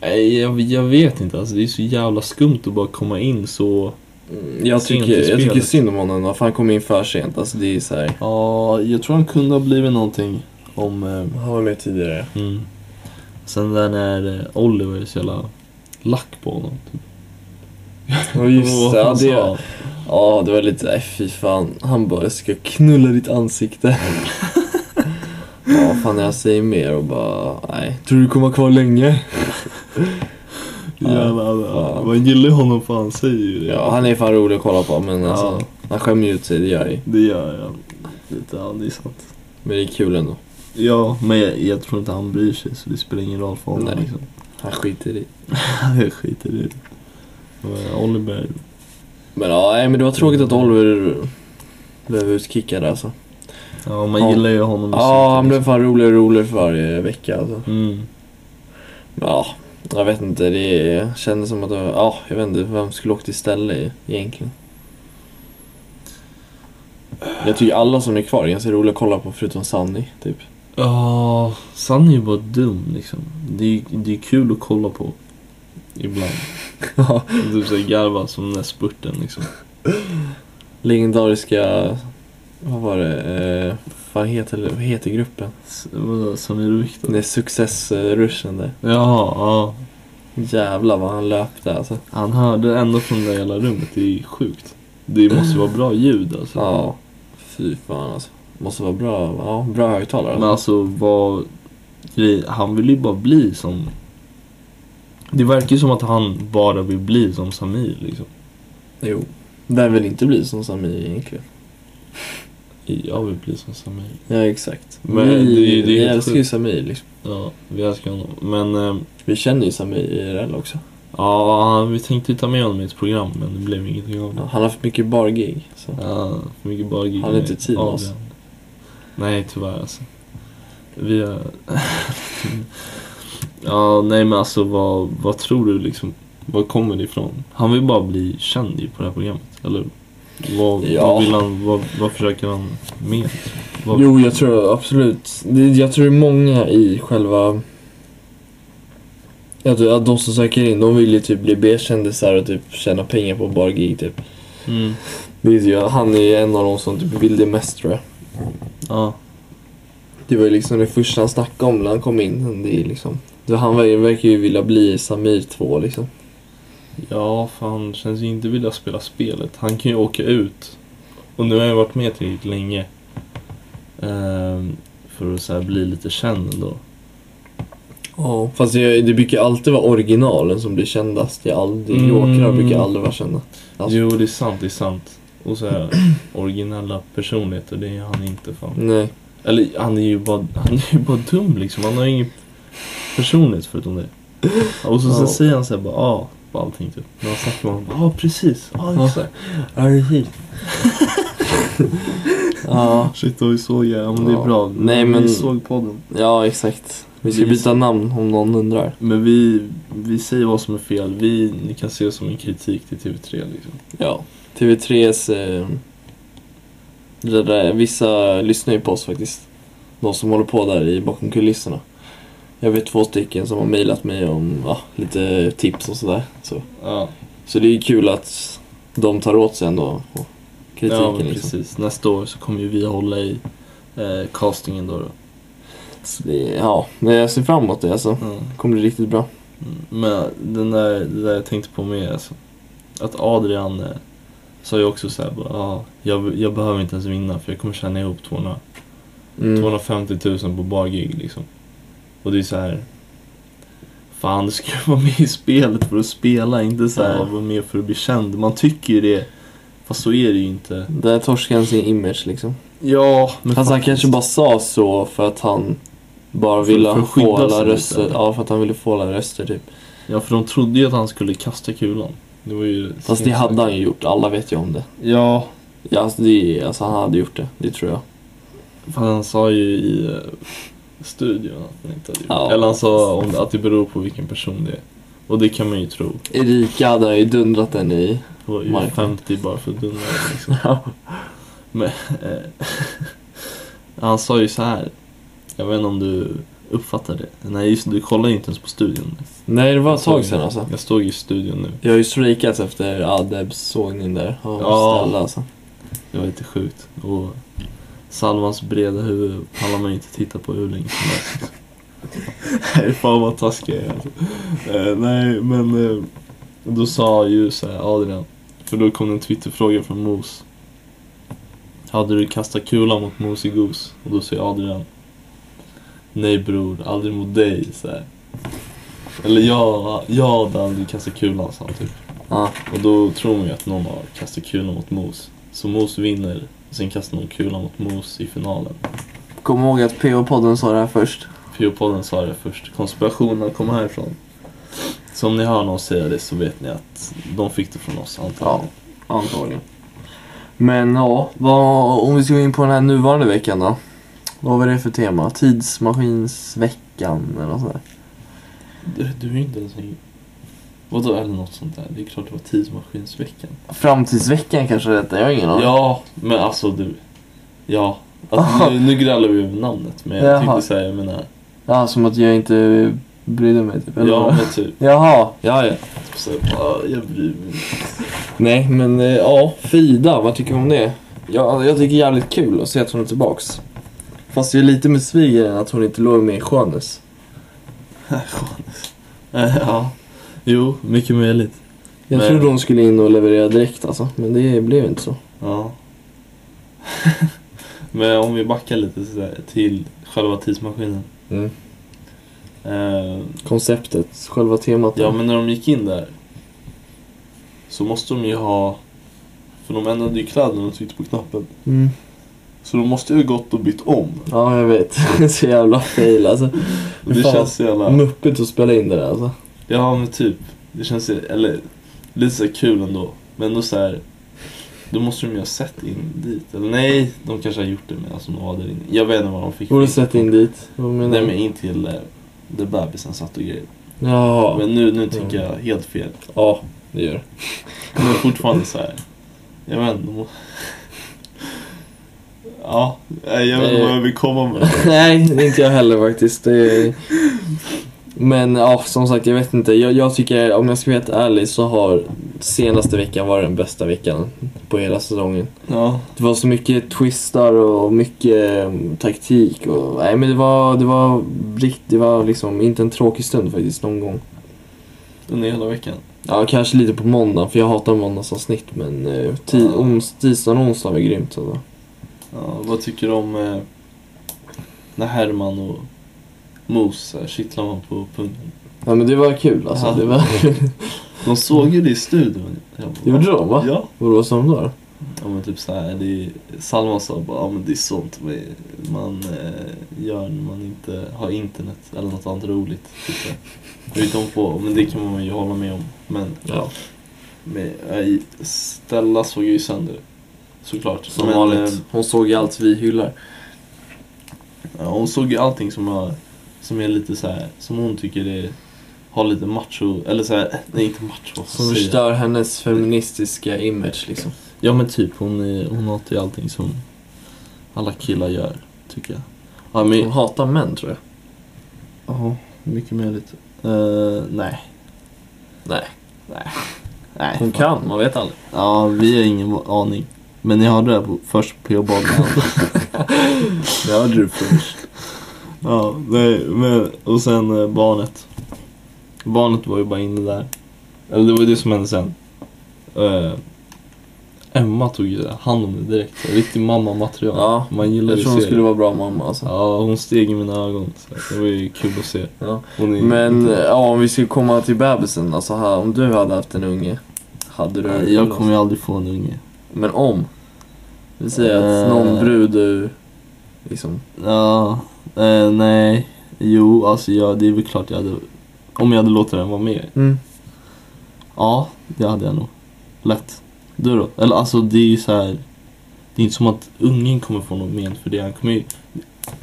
[SPEAKER 2] Nej, jag, jag vet inte alltså. Det är så jävla skumt att bara komma in så...
[SPEAKER 3] Mm, Jag
[SPEAKER 2] Sent i
[SPEAKER 3] tycker, jag tycker
[SPEAKER 2] spelet.
[SPEAKER 3] synd om honom då, för han kom in för sent. Alltså det är så här.
[SPEAKER 2] Ja, jag tror han kunde ha blivit någonting om... eh,
[SPEAKER 3] Han var med tidigare.
[SPEAKER 2] Mm. Sen där när eh, Oliver är så jävla lack på honom. Typ.
[SPEAKER 3] Ja just det.
[SPEAKER 2] Och
[SPEAKER 3] Ja,
[SPEAKER 2] han
[SPEAKER 3] det,
[SPEAKER 2] sa-
[SPEAKER 3] ja, det var lite, nej fy fan. Han bara, jag ska knulla ditt ansikte. ja fan jag säger mer och bara, nej. Tror du kommer kvar länge?
[SPEAKER 2] Jävlar,
[SPEAKER 3] Ja.
[SPEAKER 2] Man gillar ju honom för han säger ju det.
[SPEAKER 3] Ja han är fan rolig att kolla på men
[SPEAKER 2] Ja.
[SPEAKER 3] alltså. Han skämmer ju ut sig, det gör han ju.
[SPEAKER 2] Det gör jag. Lite, ja, det är sant.
[SPEAKER 3] Men det är kul ändå.
[SPEAKER 2] Ja, men jag, jag tror inte han bryr sig så det spelar ingen roll för honom.
[SPEAKER 3] Nej.
[SPEAKER 2] Liksom.
[SPEAKER 3] Han skiter i.
[SPEAKER 2] jag skiter i det. Men Oliver,
[SPEAKER 3] Men ja, nej, men det var tråkigt att Oliver blev utkickad alltså.
[SPEAKER 2] ja man
[SPEAKER 3] Ja.
[SPEAKER 2] gillar ju honom. i
[SPEAKER 3] Ja han blev
[SPEAKER 2] synken,
[SPEAKER 3] fan roligare och roligare för varje vecka alltså.
[SPEAKER 2] liksom. Mm.
[SPEAKER 3] Ja, jag vet inte. Det kändes som att... det var- Ja, jag vet inte. Vem skulle åkt istället egentligen? Jag tycker alla som är kvar är ganska roliga att kolla på förutom Sunny, typ.
[SPEAKER 2] Ja, Sanny är ju bara dum liksom. Det är, det är kul att kolla på. Ibland. typ såhär garva som den där spurten liksom.
[SPEAKER 3] Legendariska... Vad var det? Eh, vad, heter, vad heter gruppen?
[SPEAKER 2] S- Vadå, Samir och Viktor?
[SPEAKER 3] Det är Success-ruschen där.
[SPEAKER 2] Jaha, ja.
[SPEAKER 3] Jävlar vad han löpte alltså.
[SPEAKER 2] Han hörde ändå från det där jävla rummet, det är sjukt. Det måste vara bra ljud alltså.
[SPEAKER 3] Ja, fy fan alltså. Måste vara bra, ja, bra högtalare.
[SPEAKER 2] Men alltså vad... grej- Han vill ju bara bli som... Det verkar ju som att han bara vill bli som Samir liksom.
[SPEAKER 3] Jo. Där vill inte bli som Samir egentligen.
[SPEAKER 2] Jag vill bli som Samir.
[SPEAKER 3] Ja, exakt.
[SPEAKER 2] Men
[SPEAKER 3] vi
[SPEAKER 2] det är ju- det är
[SPEAKER 3] vi
[SPEAKER 2] helt
[SPEAKER 3] älskar ju Samir liksom.
[SPEAKER 2] Ja, vi älskar honom. Men eh,
[SPEAKER 3] Vi känner ju Samir i IRL också.
[SPEAKER 2] ja, vi tänkte ju ta med honom i ett program men det blev ingenting av
[SPEAKER 3] Ja,
[SPEAKER 2] det.
[SPEAKER 3] han har för mycket bargig. Så.
[SPEAKER 2] Ja, för mycket bara gig
[SPEAKER 3] Har ni inte
[SPEAKER 2] med
[SPEAKER 3] tid med
[SPEAKER 2] Adrian.
[SPEAKER 3] oss?
[SPEAKER 2] Nej, tyvärr alltså. Vi har... ja, nej men alltså vad, vad tror du liksom? Vad kommer det ifrån? Han vill bara bli känd ju på det här programmet, eller hur? vad,
[SPEAKER 3] Ja.
[SPEAKER 2] vad vill han, vad, vad försöker han med? Vad,
[SPEAKER 3] Jo, jag tror absolut. Det- Jag tror det är många i själva... Jag tror att de som söker in, de vill ju typ bli B-kändisar och typ tjäna pengar på bara gig typ.
[SPEAKER 2] Mm,
[SPEAKER 3] Det är, ju- han är ju en av de som typ vill det mest tror jag.
[SPEAKER 2] ja.
[SPEAKER 3] Det var ju liksom det första han snackade om när han kom in. Det är liksom, det han ver- verkar ju vilja bli Samir 2 liksom.
[SPEAKER 2] Ja, för han känns ju inte vilja spela spelet. Han kan ju åka ut. Och nu har jag varit med tillräckligt länge. ehm, för att så här bli lite känd ändå.
[SPEAKER 3] Ja. Fast det, det brukar alltid vara originalen som blir kändast. Det är aldrig,
[SPEAKER 2] Mm.
[SPEAKER 3] Jokrar brukar aldrig vara kända. Alltså-
[SPEAKER 2] Jo, det är sant, det är sant. Och så här, originella personligheter, det är han inte fan.
[SPEAKER 3] Nej.
[SPEAKER 2] Eller han är ju bara, han är ju bara dum liksom. Han har ju ingen personlighet förutom det. Och så,
[SPEAKER 3] Ja.
[SPEAKER 2] så säger han så här bara ja på allting typ. När han snackar med honom bara ja precis, ja
[SPEAKER 3] Ja.
[SPEAKER 2] exakt.
[SPEAKER 3] Ja.
[SPEAKER 2] Shit, då vi såg ja, men det är
[SPEAKER 3] Ja.
[SPEAKER 2] bra.
[SPEAKER 3] Nej, men-
[SPEAKER 2] Vi såg podden.
[SPEAKER 3] ja, exakt. Vi ska
[SPEAKER 2] Vi-
[SPEAKER 3] byta namn om någon undrar.
[SPEAKER 2] Men vi, vi säger vad som är fel. Vi, ni kan se det som en kritik till TV3 liksom.
[SPEAKER 3] Ja. TV3s... Eh, det där, eh, vissa lyssnar ju på oss faktiskt. De som håller på där i bakom kulisserna. Jag vet två stycken som har mejlat mig om ja, lite tips och sådär. Så.
[SPEAKER 2] Ja,
[SPEAKER 3] så det är ju kul att de tar åt sig ändå och kritiken.
[SPEAKER 2] ja men
[SPEAKER 3] liksom.
[SPEAKER 2] precis. Nästa år så kommer ju vi hålla i eh, castingen då. då.
[SPEAKER 3] så det, ja, men jag ser fram emot det alltså.
[SPEAKER 2] Mm.
[SPEAKER 3] Det kommer bli riktigt bra.
[SPEAKER 2] Mm. Men den där, det där jag tänkte på med alltså, att Adrian eh, sa ju också såhär bara, ah, jag, jag behöver inte ens vinna för jag kommer tjäna ihop 200,
[SPEAKER 3] Mm.
[SPEAKER 2] 250 000 på bara gig liksom. Och det är så här. Fan, du ska ju vara med i spelet för att spela, inte så här
[SPEAKER 3] Ja.
[SPEAKER 2] vara med för att bli känd. Man tycker ju det, fast så är det ju inte.
[SPEAKER 3] Där torskade han sin image liksom.
[SPEAKER 2] Ja, men
[SPEAKER 3] Fast Alltså, han
[SPEAKER 2] faktiskt.
[SPEAKER 3] kanske bara sa så för att han bara
[SPEAKER 2] För-
[SPEAKER 3] ville
[SPEAKER 2] för att skydda
[SPEAKER 3] få alla
[SPEAKER 2] sig lite,
[SPEAKER 3] röster.
[SPEAKER 2] eller?
[SPEAKER 3] Ja, för att han ville få alla röster typ.
[SPEAKER 2] Ja, för de trodde ju att han skulle kasta kulan. Det var ju...
[SPEAKER 3] Fast det hade han ju gjort, alla vet ju om det.
[SPEAKER 2] Ja,
[SPEAKER 3] Ja, alltså, det, alltså han hade gjort det, det tror jag.
[SPEAKER 2] För han sa ju i eh, studion att han inte hade gjort
[SPEAKER 3] Ja.
[SPEAKER 2] det. Eller han sa om det, att det beror på vilken person det är. Och det kan man ju tro.
[SPEAKER 3] Erika hade han ju dundrat den i.
[SPEAKER 2] Det var ju
[SPEAKER 3] Marknad.
[SPEAKER 2] 50 bara för dumma liksom. Men, eh, han sa ju så här. Jag vet inte om du uppfattar det. Nej just det, du kollar ju inte ens på studion.
[SPEAKER 3] Nej, det var
[SPEAKER 2] Jag
[SPEAKER 3] ett
[SPEAKER 2] såg
[SPEAKER 3] tag
[SPEAKER 2] ju-
[SPEAKER 3] sedan alltså.
[SPEAKER 2] Jag stod i studion nu.
[SPEAKER 3] Jag har ju strejkat efter Adebs sågning där. av
[SPEAKER 2] Ja.
[SPEAKER 3] Stella, alltså.
[SPEAKER 2] Det var lite sjukt. Och Salmans breda huvud pallar man ju inte titta på hur länge som helst. Nej, fan vad taskig jag är alltså. eh, Nej, men eh, då sa ju så här, Adrian, för då kom det en twitterfråga från Mos. Hade du kastat kulan mot Mos i Goose? Och då säger Adrian, nej bror, aldrig mot dig. Så här. Eller jag, jag hade aldrig kastat kulan, sa han typ.
[SPEAKER 3] Ja.
[SPEAKER 2] Och då tror man ju att någon har kastat kulan mot Mos. Så Mos vinner, och sen kastar någon kulan mot Mos i finalen.
[SPEAKER 3] Kom ihåg att PH-podden sa det här först.
[SPEAKER 2] PO-podden sa det först, konspirationen kommer härifrån. Så om ni hör någon säga det så vet ni att de fick det från oss antagligen.
[SPEAKER 3] Antagligen. Men ja, vad, om vi ska gå in på den här nuvarande veckan då. Vad var det för tema? Tidsmaskinsveckan eller något sånt där.
[SPEAKER 2] Du, du är ju inte ens en... Vadå, eller något sånt där. Det är klart det var tidsmaskinsveckan.
[SPEAKER 3] Framtidsveckan kanske det heter, jag har ingen aning.
[SPEAKER 2] Ja, men alltså du... Ja. Alltså, nu, nu grälar vi över namnet, men jag
[SPEAKER 3] Jaha.
[SPEAKER 2] tänkte säga, jag menar...
[SPEAKER 3] Ja, som att jag inte brydde mig typ. Eller
[SPEAKER 2] Ja,
[SPEAKER 3] vad?
[SPEAKER 2] men typ.
[SPEAKER 3] Jaha, ja ja.
[SPEAKER 2] Så, ja, jag bryr mig inte.
[SPEAKER 3] Nej men eh, ja, Frida, vad tycker du om det? Ja, alltså, jag tycker det är jävligt kul att se att hon är tillbaks. Fast jag är lite besviken att hon inte låg med i Skönus.
[SPEAKER 2] Eh, Ja. Jo, mycket möjligt.
[SPEAKER 3] Jag
[SPEAKER 2] Nej.
[SPEAKER 3] trodde hon skulle in och leverera direkt alltså, men det blev inte så.
[SPEAKER 2] Ja. Men om vi backar lite sådär till själva tidsmaskinen.
[SPEAKER 3] Mm.
[SPEAKER 2] Eh,
[SPEAKER 3] Konceptet, själva temat.
[SPEAKER 2] ja, men när de gick in där så måste de ju ha För de ändrade ju kläder när de tryckte på knappen. Så de måste ju ha gått och bytt om.
[SPEAKER 3] Ja, jag vet. Så jävla fail alltså.
[SPEAKER 2] Och det
[SPEAKER 3] Fan.
[SPEAKER 2] känns så jävla...
[SPEAKER 3] Muppigt att spela in det där alltså.
[SPEAKER 2] Ja men typ. Det känns ju- eller lite så här kul ändå. Men ändå så här. Då måste de ju ha sett in dit. Eller nej, de kanske har gjort det medan de var där inne. Jag vet inte vad de fick.
[SPEAKER 3] Borde sett in dit. Vad menar
[SPEAKER 2] Nej
[SPEAKER 3] du?
[SPEAKER 2] men in till eh, där bebisen satt och grejer.
[SPEAKER 3] Ja. Mm.
[SPEAKER 2] Men nu, nu tycker jag helt fel.
[SPEAKER 3] Ja, det gör det.
[SPEAKER 2] Men fortfarande så här. Jag vet inte. de må- Ja, nej, jag vet inte vad jag vill komma med.
[SPEAKER 3] Nej, det är inte jag heller faktiskt. Det är... Men ja, som sagt, jag vet inte. Jag, jag tycker, om jag ska vara helt ärlig, så har senaste veckan varit den bästa veckan på hela säsongen.
[SPEAKER 2] Ja,
[SPEAKER 3] Det var så mycket twistar och mycket mm, taktik. Och, nej, men det var, det var rikt, det var liksom inte en tråkig stund faktiskt någon gång.
[SPEAKER 2] under hela veckan.
[SPEAKER 3] Ja, kanske lite på måndag för jag hatar måndagsavsnitt. Men eh, ti- ons- tisdagen och onsdagen var grymt. Alltså.
[SPEAKER 2] Ja, vad tycker du om eh, när Herman och Mos så här kittlar man på pungen?
[SPEAKER 3] Ja, men det var kul alltså.
[SPEAKER 2] Ja.
[SPEAKER 3] Det var...
[SPEAKER 2] De såg ju det i studion. Jag bara,
[SPEAKER 3] Gjorde de va?
[SPEAKER 2] Ja.
[SPEAKER 3] Vadå, sa de då?
[SPEAKER 2] ja, men typ så här, det är, Salman sa bara, ja men det är sånt man, man eh, gör när man inte har internet eller något annat roligt. Typ så här. Jag vet inte på, men det kan man ju hålla med om. Men,
[SPEAKER 3] Ja.
[SPEAKER 2] men nej, Stella såg ju sönder det, såklart.
[SPEAKER 3] Som
[SPEAKER 2] Men, eh,
[SPEAKER 3] vanligt. Hon såg ju allt vi hyllar.
[SPEAKER 2] Ja, hon såg ju allting som, jag, som är lite så här, som hon tycker är, har lite macho, eller så här, nej inte macho, vad
[SPEAKER 3] Som
[SPEAKER 2] säger jag?
[SPEAKER 3] förstör hennes feministiska image liksom.
[SPEAKER 2] Ja men typ, hon, är, hon hatar ju allting som alla killar gör, tycker jag. Ja
[SPEAKER 3] Hon
[SPEAKER 2] men,
[SPEAKER 3] hatar män tror jag.
[SPEAKER 2] ja, mycket möjligt. Uh, nej.
[SPEAKER 3] Nej.
[SPEAKER 2] Nej. Nej.
[SPEAKER 3] Hon kan, man vet aldrig.
[SPEAKER 2] Ja, vi har ingen aning. Men ni hörde det här på, först på P.O. Badland.
[SPEAKER 3] Det hörde du först.
[SPEAKER 2] Ja, nej, men, och sen eh, barnet. Barnet var ju bara inne där. Eller det var ju det som hände sen. Eh, Emma tog ju hand om det direkt. Så här, Riktig mamma-material.
[SPEAKER 3] Ja,
[SPEAKER 2] Man gillar
[SPEAKER 3] Jag
[SPEAKER 2] ju
[SPEAKER 3] tror hon
[SPEAKER 2] serien.
[SPEAKER 3] skulle vara bra mamma alltså.
[SPEAKER 2] Ja, hon steg i mina ögon. Så här, det var ju kul att se.
[SPEAKER 3] Ja.
[SPEAKER 2] Hon är...
[SPEAKER 3] Men eh, ja, om vi ska komma till bebisen. Alltså här, om du hade haft en unge. Hade du?
[SPEAKER 2] Nej, Jag kommer ju aldrig få en unge.
[SPEAKER 3] Men om? Vi säger att
[SPEAKER 2] Eh.
[SPEAKER 3] någon brud du liksom...
[SPEAKER 2] Ja, eh, nej. Jo, alltså jag, det är väl klart jag hade... Om jag hade låtit den vara med. Ja, det hade jag nog. Lätt. Du då? Eller alltså det är ju så här. Det är inte som att ungen kommer få något men för det. Han kommer ju,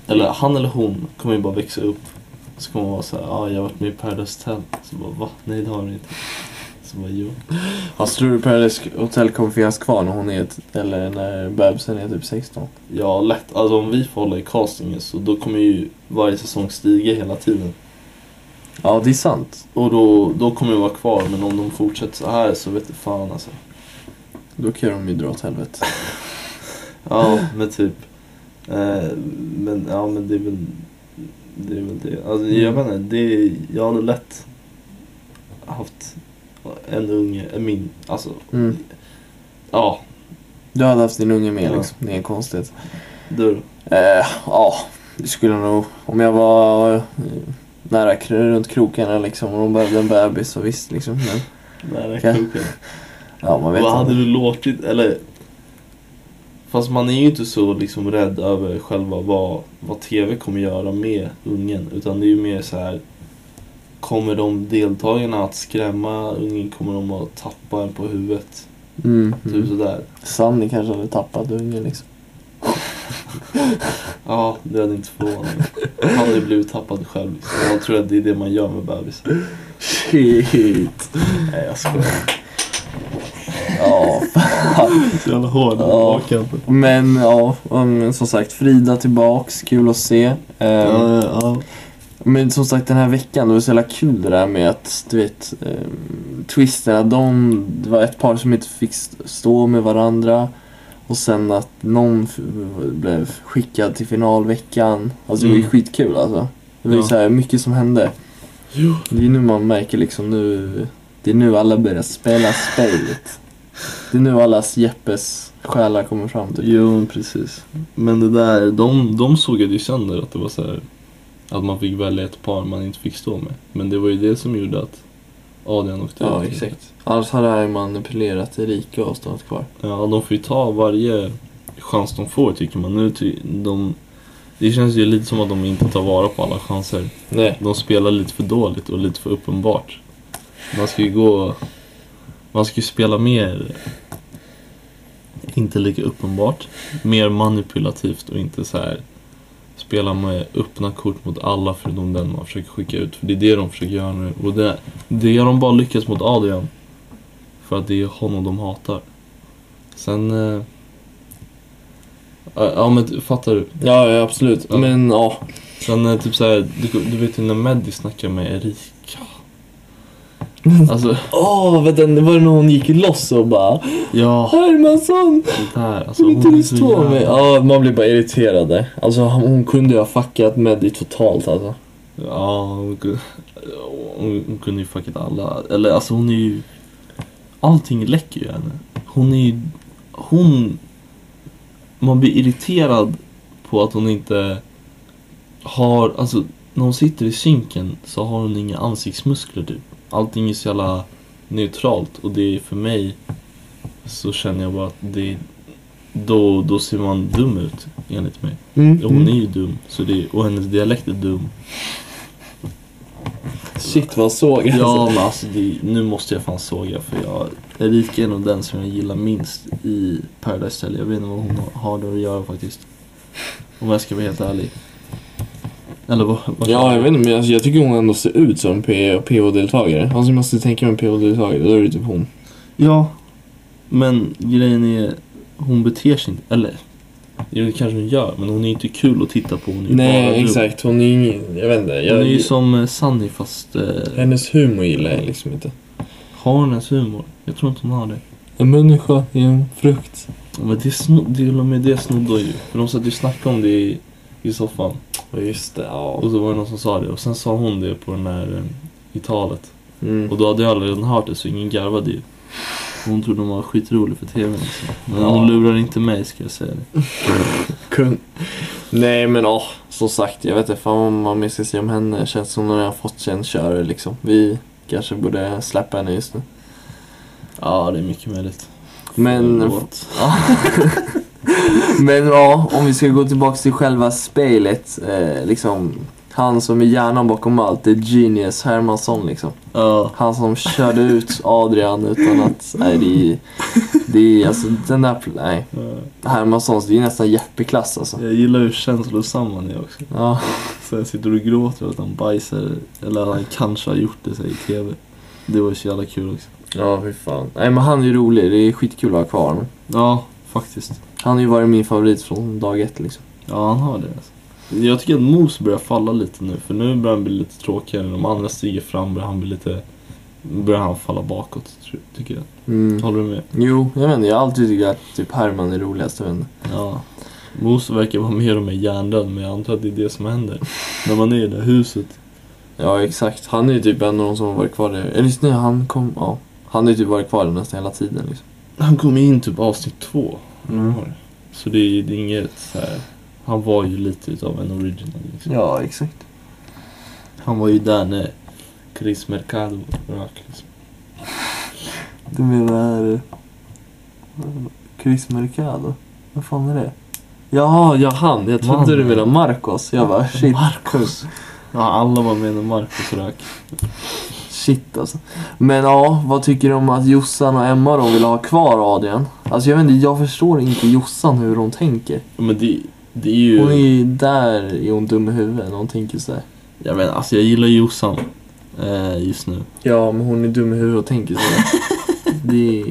[SPEAKER 2] eller han eller hon kommer ju bara växa upp. Så kommer man vara så här, ja ah, jag har varit med i Paradise Hotel. Så bara va? Nej det har du inte. Så bara jo.
[SPEAKER 3] Alltså tror du Paradise Hotel kommer finnas kvar när hon är... ett- Eller när bebisen är typ 16?
[SPEAKER 2] Ja lätt, alltså om vi får hålla i castingen så då kommer ju varje säsong stiga hela tiden.
[SPEAKER 3] Ja, det är sant.
[SPEAKER 2] Och då, då kommer jag vara kvar men om de fortsätter så här så vet du fan alltså.
[SPEAKER 3] Då kan de ju dra åt helvete.
[SPEAKER 2] Ja, men typ. Eh, men ja, men det är väl det. Är väl det. Alltså, Jag
[SPEAKER 3] Mm.
[SPEAKER 2] vet inte, det är, jag hade lätt haft en unge, eh, min, alltså
[SPEAKER 3] Mm.
[SPEAKER 2] ja,
[SPEAKER 3] Du hade haft din unge med
[SPEAKER 2] Ja.
[SPEAKER 3] liksom, det är inget konstigt.
[SPEAKER 2] du.
[SPEAKER 3] Eh, ja, det skulle jag nog... Om jag var eh, nära kr- runt krokarna liksom och de behövde en bebis så visst liksom. Men,
[SPEAKER 2] Nära
[SPEAKER 3] Okej.
[SPEAKER 2] kroken.
[SPEAKER 3] ja, man vet
[SPEAKER 2] Vad hade
[SPEAKER 3] aldrig.
[SPEAKER 2] du låtit, eller? Fast man är ju inte så liksom rädd över själva vad, vad TV kommer göra med ungen utan det är ju mer så här Kommer de deltagarna att skrämma ungen? Kommer de att tappa en på huvudet?
[SPEAKER 3] Mm,
[SPEAKER 2] Typ
[SPEAKER 3] mm.
[SPEAKER 2] sådär.
[SPEAKER 3] Sanni kanske hade tappat ungen liksom.
[SPEAKER 2] Ja, det hade inte förvånat mig. Han hade ju blivit tappad själv. Liksom. Jag tror att det är det man gör med bebisar.
[SPEAKER 3] Shit!
[SPEAKER 2] Nej, jag skojar.
[SPEAKER 3] Ja,
[SPEAKER 2] Så jävla hård.
[SPEAKER 3] Ja. men ja, men, som sagt Frida tillbaks, kul att se. Eh,
[SPEAKER 2] Ja, ja.
[SPEAKER 3] Men som sagt den här veckan, det var så jävla kul det där med att du vet ehm, twisterna, de, det var ett par som inte fick st- stå med varandra och sen att någon f- blev skickad till finalveckan. Alltså det var ju
[SPEAKER 2] Mm.
[SPEAKER 3] skitkul alltså. Det var ju
[SPEAKER 2] Ja.
[SPEAKER 3] så här mycket som hände.
[SPEAKER 2] Jo.
[SPEAKER 3] Det är ju nu man märker liksom nu, det är nu alla börjar spela spelet. Det är nu allas Jeppes själar kommer fram typ.
[SPEAKER 2] Jo, men precis. Men det där, de, de sågade ju sönder att det var så här att man fick välja ett par man inte fick stå med. Men det var ju det som gjorde att Adrian åkte
[SPEAKER 3] Ja,
[SPEAKER 2] ut.
[SPEAKER 3] exakt. Annars hade han ju manipulerat Erika och stannat kvar.
[SPEAKER 2] Ja, de får ju ta varje chans de får tycker man. Nu ty- de, det känns ju lite som att de inte tar vara på alla chanser.
[SPEAKER 3] Nej.
[SPEAKER 2] De spelar lite för dåligt och lite för uppenbart. Man ska ju gå... Man ska ju spela mer... Inte lika uppenbart. Mer manipulativt och inte så här spela med öppna kort mot alla förutom den man försöker skicka ut. För det är det de försöker göra nu. Och det, det har de bara lyckats mot Adrian. För att det är honom de hatar. Sen... Eh, ja, ja men fattar du?
[SPEAKER 3] Ja, ja absolut.
[SPEAKER 2] Ja.
[SPEAKER 3] Men ja.
[SPEAKER 2] Sen eh, typ såhär, du, du vet ju när Meddy snackar med Erika. Alltså,
[SPEAKER 3] Åh, vänta, det var det när hon gick loss och bara
[SPEAKER 2] ja,
[SPEAKER 3] Hermansson,
[SPEAKER 2] det där. Alltså,
[SPEAKER 3] hon inte
[SPEAKER 2] är
[SPEAKER 3] visste
[SPEAKER 2] så
[SPEAKER 3] på
[SPEAKER 2] jävla-
[SPEAKER 3] mig. Ja, man blir bara irriterad. Alltså hon kunde ju ha fuckat med dig totalt alltså.
[SPEAKER 2] Ja, hon, ku- hon, hon kunde ju fuckat alla. Eller alltså hon är ju... Allting läcker ju henne. Hon är ju... Hon... Man blir irriterad på att hon inte har... Alltså, när hon sitter i synken så har hon inga ansiktsmuskler typ. Allting är så jävla neutralt och det är för mig så känner jag bara att det... Då, då ser man dum ut enligt mig.
[SPEAKER 3] Mm.
[SPEAKER 2] Ja, Hon är ju dum, så det, och hennes dialekt är dum.
[SPEAKER 3] Shit vad jag såg
[SPEAKER 2] Ja,
[SPEAKER 3] alltså.
[SPEAKER 2] men alltså det, nu måste jag fan såga för jag, Erika är nog den som jag gillar minst i Paradise Hotel. Jag vet inte vad hon har där att göra faktiskt. Om jag ska vara helt ärlig. Eller vad? vad
[SPEAKER 3] Ja, jag vet inte men jag, jag tycker hon ändå ser ut som en P- PH-deltagare. Alltså jag måste tänka mig en PH-deltagare, då är det typ hon.
[SPEAKER 2] Ja, men grejen är, hon beter sig inte, eller jo, det kanske hon gör, men hon är inte kul att titta på. Hon är ju bara
[SPEAKER 3] Nej,
[SPEAKER 2] dum.
[SPEAKER 3] exakt. Hon är ingen, jag vet inte.
[SPEAKER 2] Hon är
[SPEAKER 3] Jag,
[SPEAKER 2] ju som eh, Sunny fast eh,
[SPEAKER 3] hennes humor gillar jag liksom inte.
[SPEAKER 2] har hon ens humor? Jag tror inte hon har det.
[SPEAKER 3] En människa är en frukt.
[SPEAKER 2] Ja, men det snod, till och med det snodde hon ju. För de satt ju och snackade om det i, i soffan.
[SPEAKER 3] Just det, ja.
[SPEAKER 2] Och så var det någon som sa det. Och sen sa hon det på den här, eh, i talet.
[SPEAKER 3] Mm.
[SPEAKER 2] Och då hade jag redan hört det så ingen garvade ju. Hon trodde hon var skitrolig för TV liksom. Men
[SPEAKER 3] Ja.
[SPEAKER 2] hon lurar inte mig ska jag säga det.
[SPEAKER 3] Kung. Nej men åh, som sagt jag vet inte fan om man mer ska säga om henne. Känns som hon redan fått sig en körare liksom. Vi kanske borde släppa henne just nu.
[SPEAKER 2] Ja, det är mycket möjligt.
[SPEAKER 3] Men,
[SPEAKER 2] Förlåt.
[SPEAKER 3] men ja, om vi ska gå tillbaka till själva spelet. Eh, liksom, han som är hjärnan bakom allt, det är Genius Hermansson liksom.
[SPEAKER 2] Ja.
[SPEAKER 3] Han som körde ut Adrian utan att... Nej det är... Det är alltså den där... pl- Nej.
[SPEAKER 2] eh,
[SPEAKER 3] Hermanssons, det är nästan Jeppe-klass alltså.
[SPEAKER 2] Jag gillar hur känslosam han är också.
[SPEAKER 3] Ja.
[SPEAKER 2] Så jag sitter och gråter att han bajsar, eller att han kanske har gjort det så här, i TV. Det var ju så jävla kul också.
[SPEAKER 3] Ja, hur fan. Nej men han är ju rolig, det är skitkul att ha kvar honom.
[SPEAKER 2] Ja, faktiskt.
[SPEAKER 3] Han har ju varit min favorit från dag ett liksom.
[SPEAKER 2] Ja, han har det. Alltså. Jag tycker att Mos börjar falla lite nu, för nu börjar han bli lite tråkigare. De andra stiger fram, börjar han bli lite... Börjar han falla bakåt, tror- tycker jag.
[SPEAKER 3] Mm.
[SPEAKER 2] Håller du med?
[SPEAKER 3] Jo, jag vet inte, jag har alltid tyckt att typ Herman är roligast, jag vet inte.
[SPEAKER 2] Ja. Mos verkar vara mer och mer hjärndöd, men jag antar att det är det som händer. När man är i det där huset.
[SPEAKER 3] Ja, exakt. Han är ju typ en av de som har varit kvar där. Eller just nu, han kom... Ja. Han har ju typ varit kvar där nästan hela tiden liksom.
[SPEAKER 2] Han kom in typ avsnitt två.
[SPEAKER 3] Mm.
[SPEAKER 2] Så det är, det är inget så här. Han var ju lite utav en original liksom.
[SPEAKER 3] Ja, exakt.
[SPEAKER 2] Han var ju där när Chris Mercado rök liksom.
[SPEAKER 3] Du menar... eh, Chris Mercado? Vad fan är det? Jaha, ja han. Jag trodde
[SPEAKER 2] Man.
[SPEAKER 3] du menade Marcos. Jag bara shit.
[SPEAKER 2] Marcus. Ja, alla var med när Marcus rök.
[SPEAKER 3] Shit alltså. Men ja, vad tycker du om att Jossan och Emma då vill ha kvar Adrian? Alltså jag vet inte, jag förstår inte Jossan hur hon tänker.
[SPEAKER 2] Men det, det är ju...
[SPEAKER 3] Hon är ju där, är hon dum i huvudet när hon tänker sådär.
[SPEAKER 2] Jag vet alltså jag gillar Jossan eh, just nu.
[SPEAKER 3] Ja, men hon är dum i huvudet och tänker sådär. det är...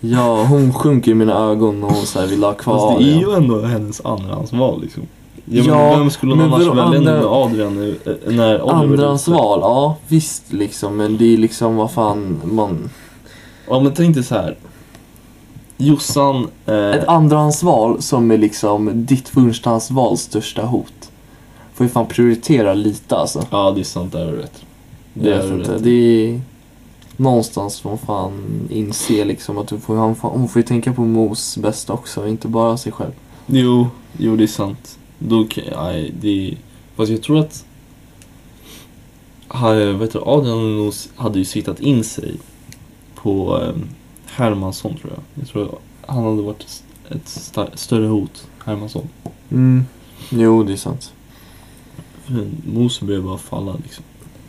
[SPEAKER 3] Ja, hon sjunker i mina ögon när hon såhär vill ha kvar
[SPEAKER 2] Fast det är
[SPEAKER 3] Adrian.
[SPEAKER 2] ju ändå hennes andrahandsval liksom. Ja,
[SPEAKER 3] Ja,
[SPEAKER 2] men vem skulle
[SPEAKER 3] men
[SPEAKER 2] hon annars
[SPEAKER 3] vadå
[SPEAKER 2] välja nu
[SPEAKER 3] andra-
[SPEAKER 2] när Adrian är, eh, när Oliver är ute?
[SPEAKER 3] Andrahandsval, ja visst liksom. Men det är liksom vad fan man...
[SPEAKER 2] Ja men tänk dig så här. Jossan... Eh,
[SPEAKER 3] Ett andrahandsval som är liksom ditt förstahandsvals största hot. Får ju fan prioritera lite alltså.
[SPEAKER 2] ja det är sant, där har du rätt.
[SPEAKER 3] Det
[SPEAKER 2] Där
[SPEAKER 3] är
[SPEAKER 2] har du
[SPEAKER 3] inte.
[SPEAKER 2] rätt.
[SPEAKER 3] Det är någonstans får man fan inse liksom att du får, han får, hon får ju tänka på Mos bästa också, inte bara sig själv.
[SPEAKER 2] Jo, jo eh, det är sant. Då kan, nej, det är, Fast jag tror att... han, vet du, Adrian Nos hade ju siktat in sig på eh, Hermansson tror jag. Jag tror han hade varit ett, ett sta- större hot, Hermansson.
[SPEAKER 3] Mm. Jo, det är sant.
[SPEAKER 2] För Moseby bara falla liksom.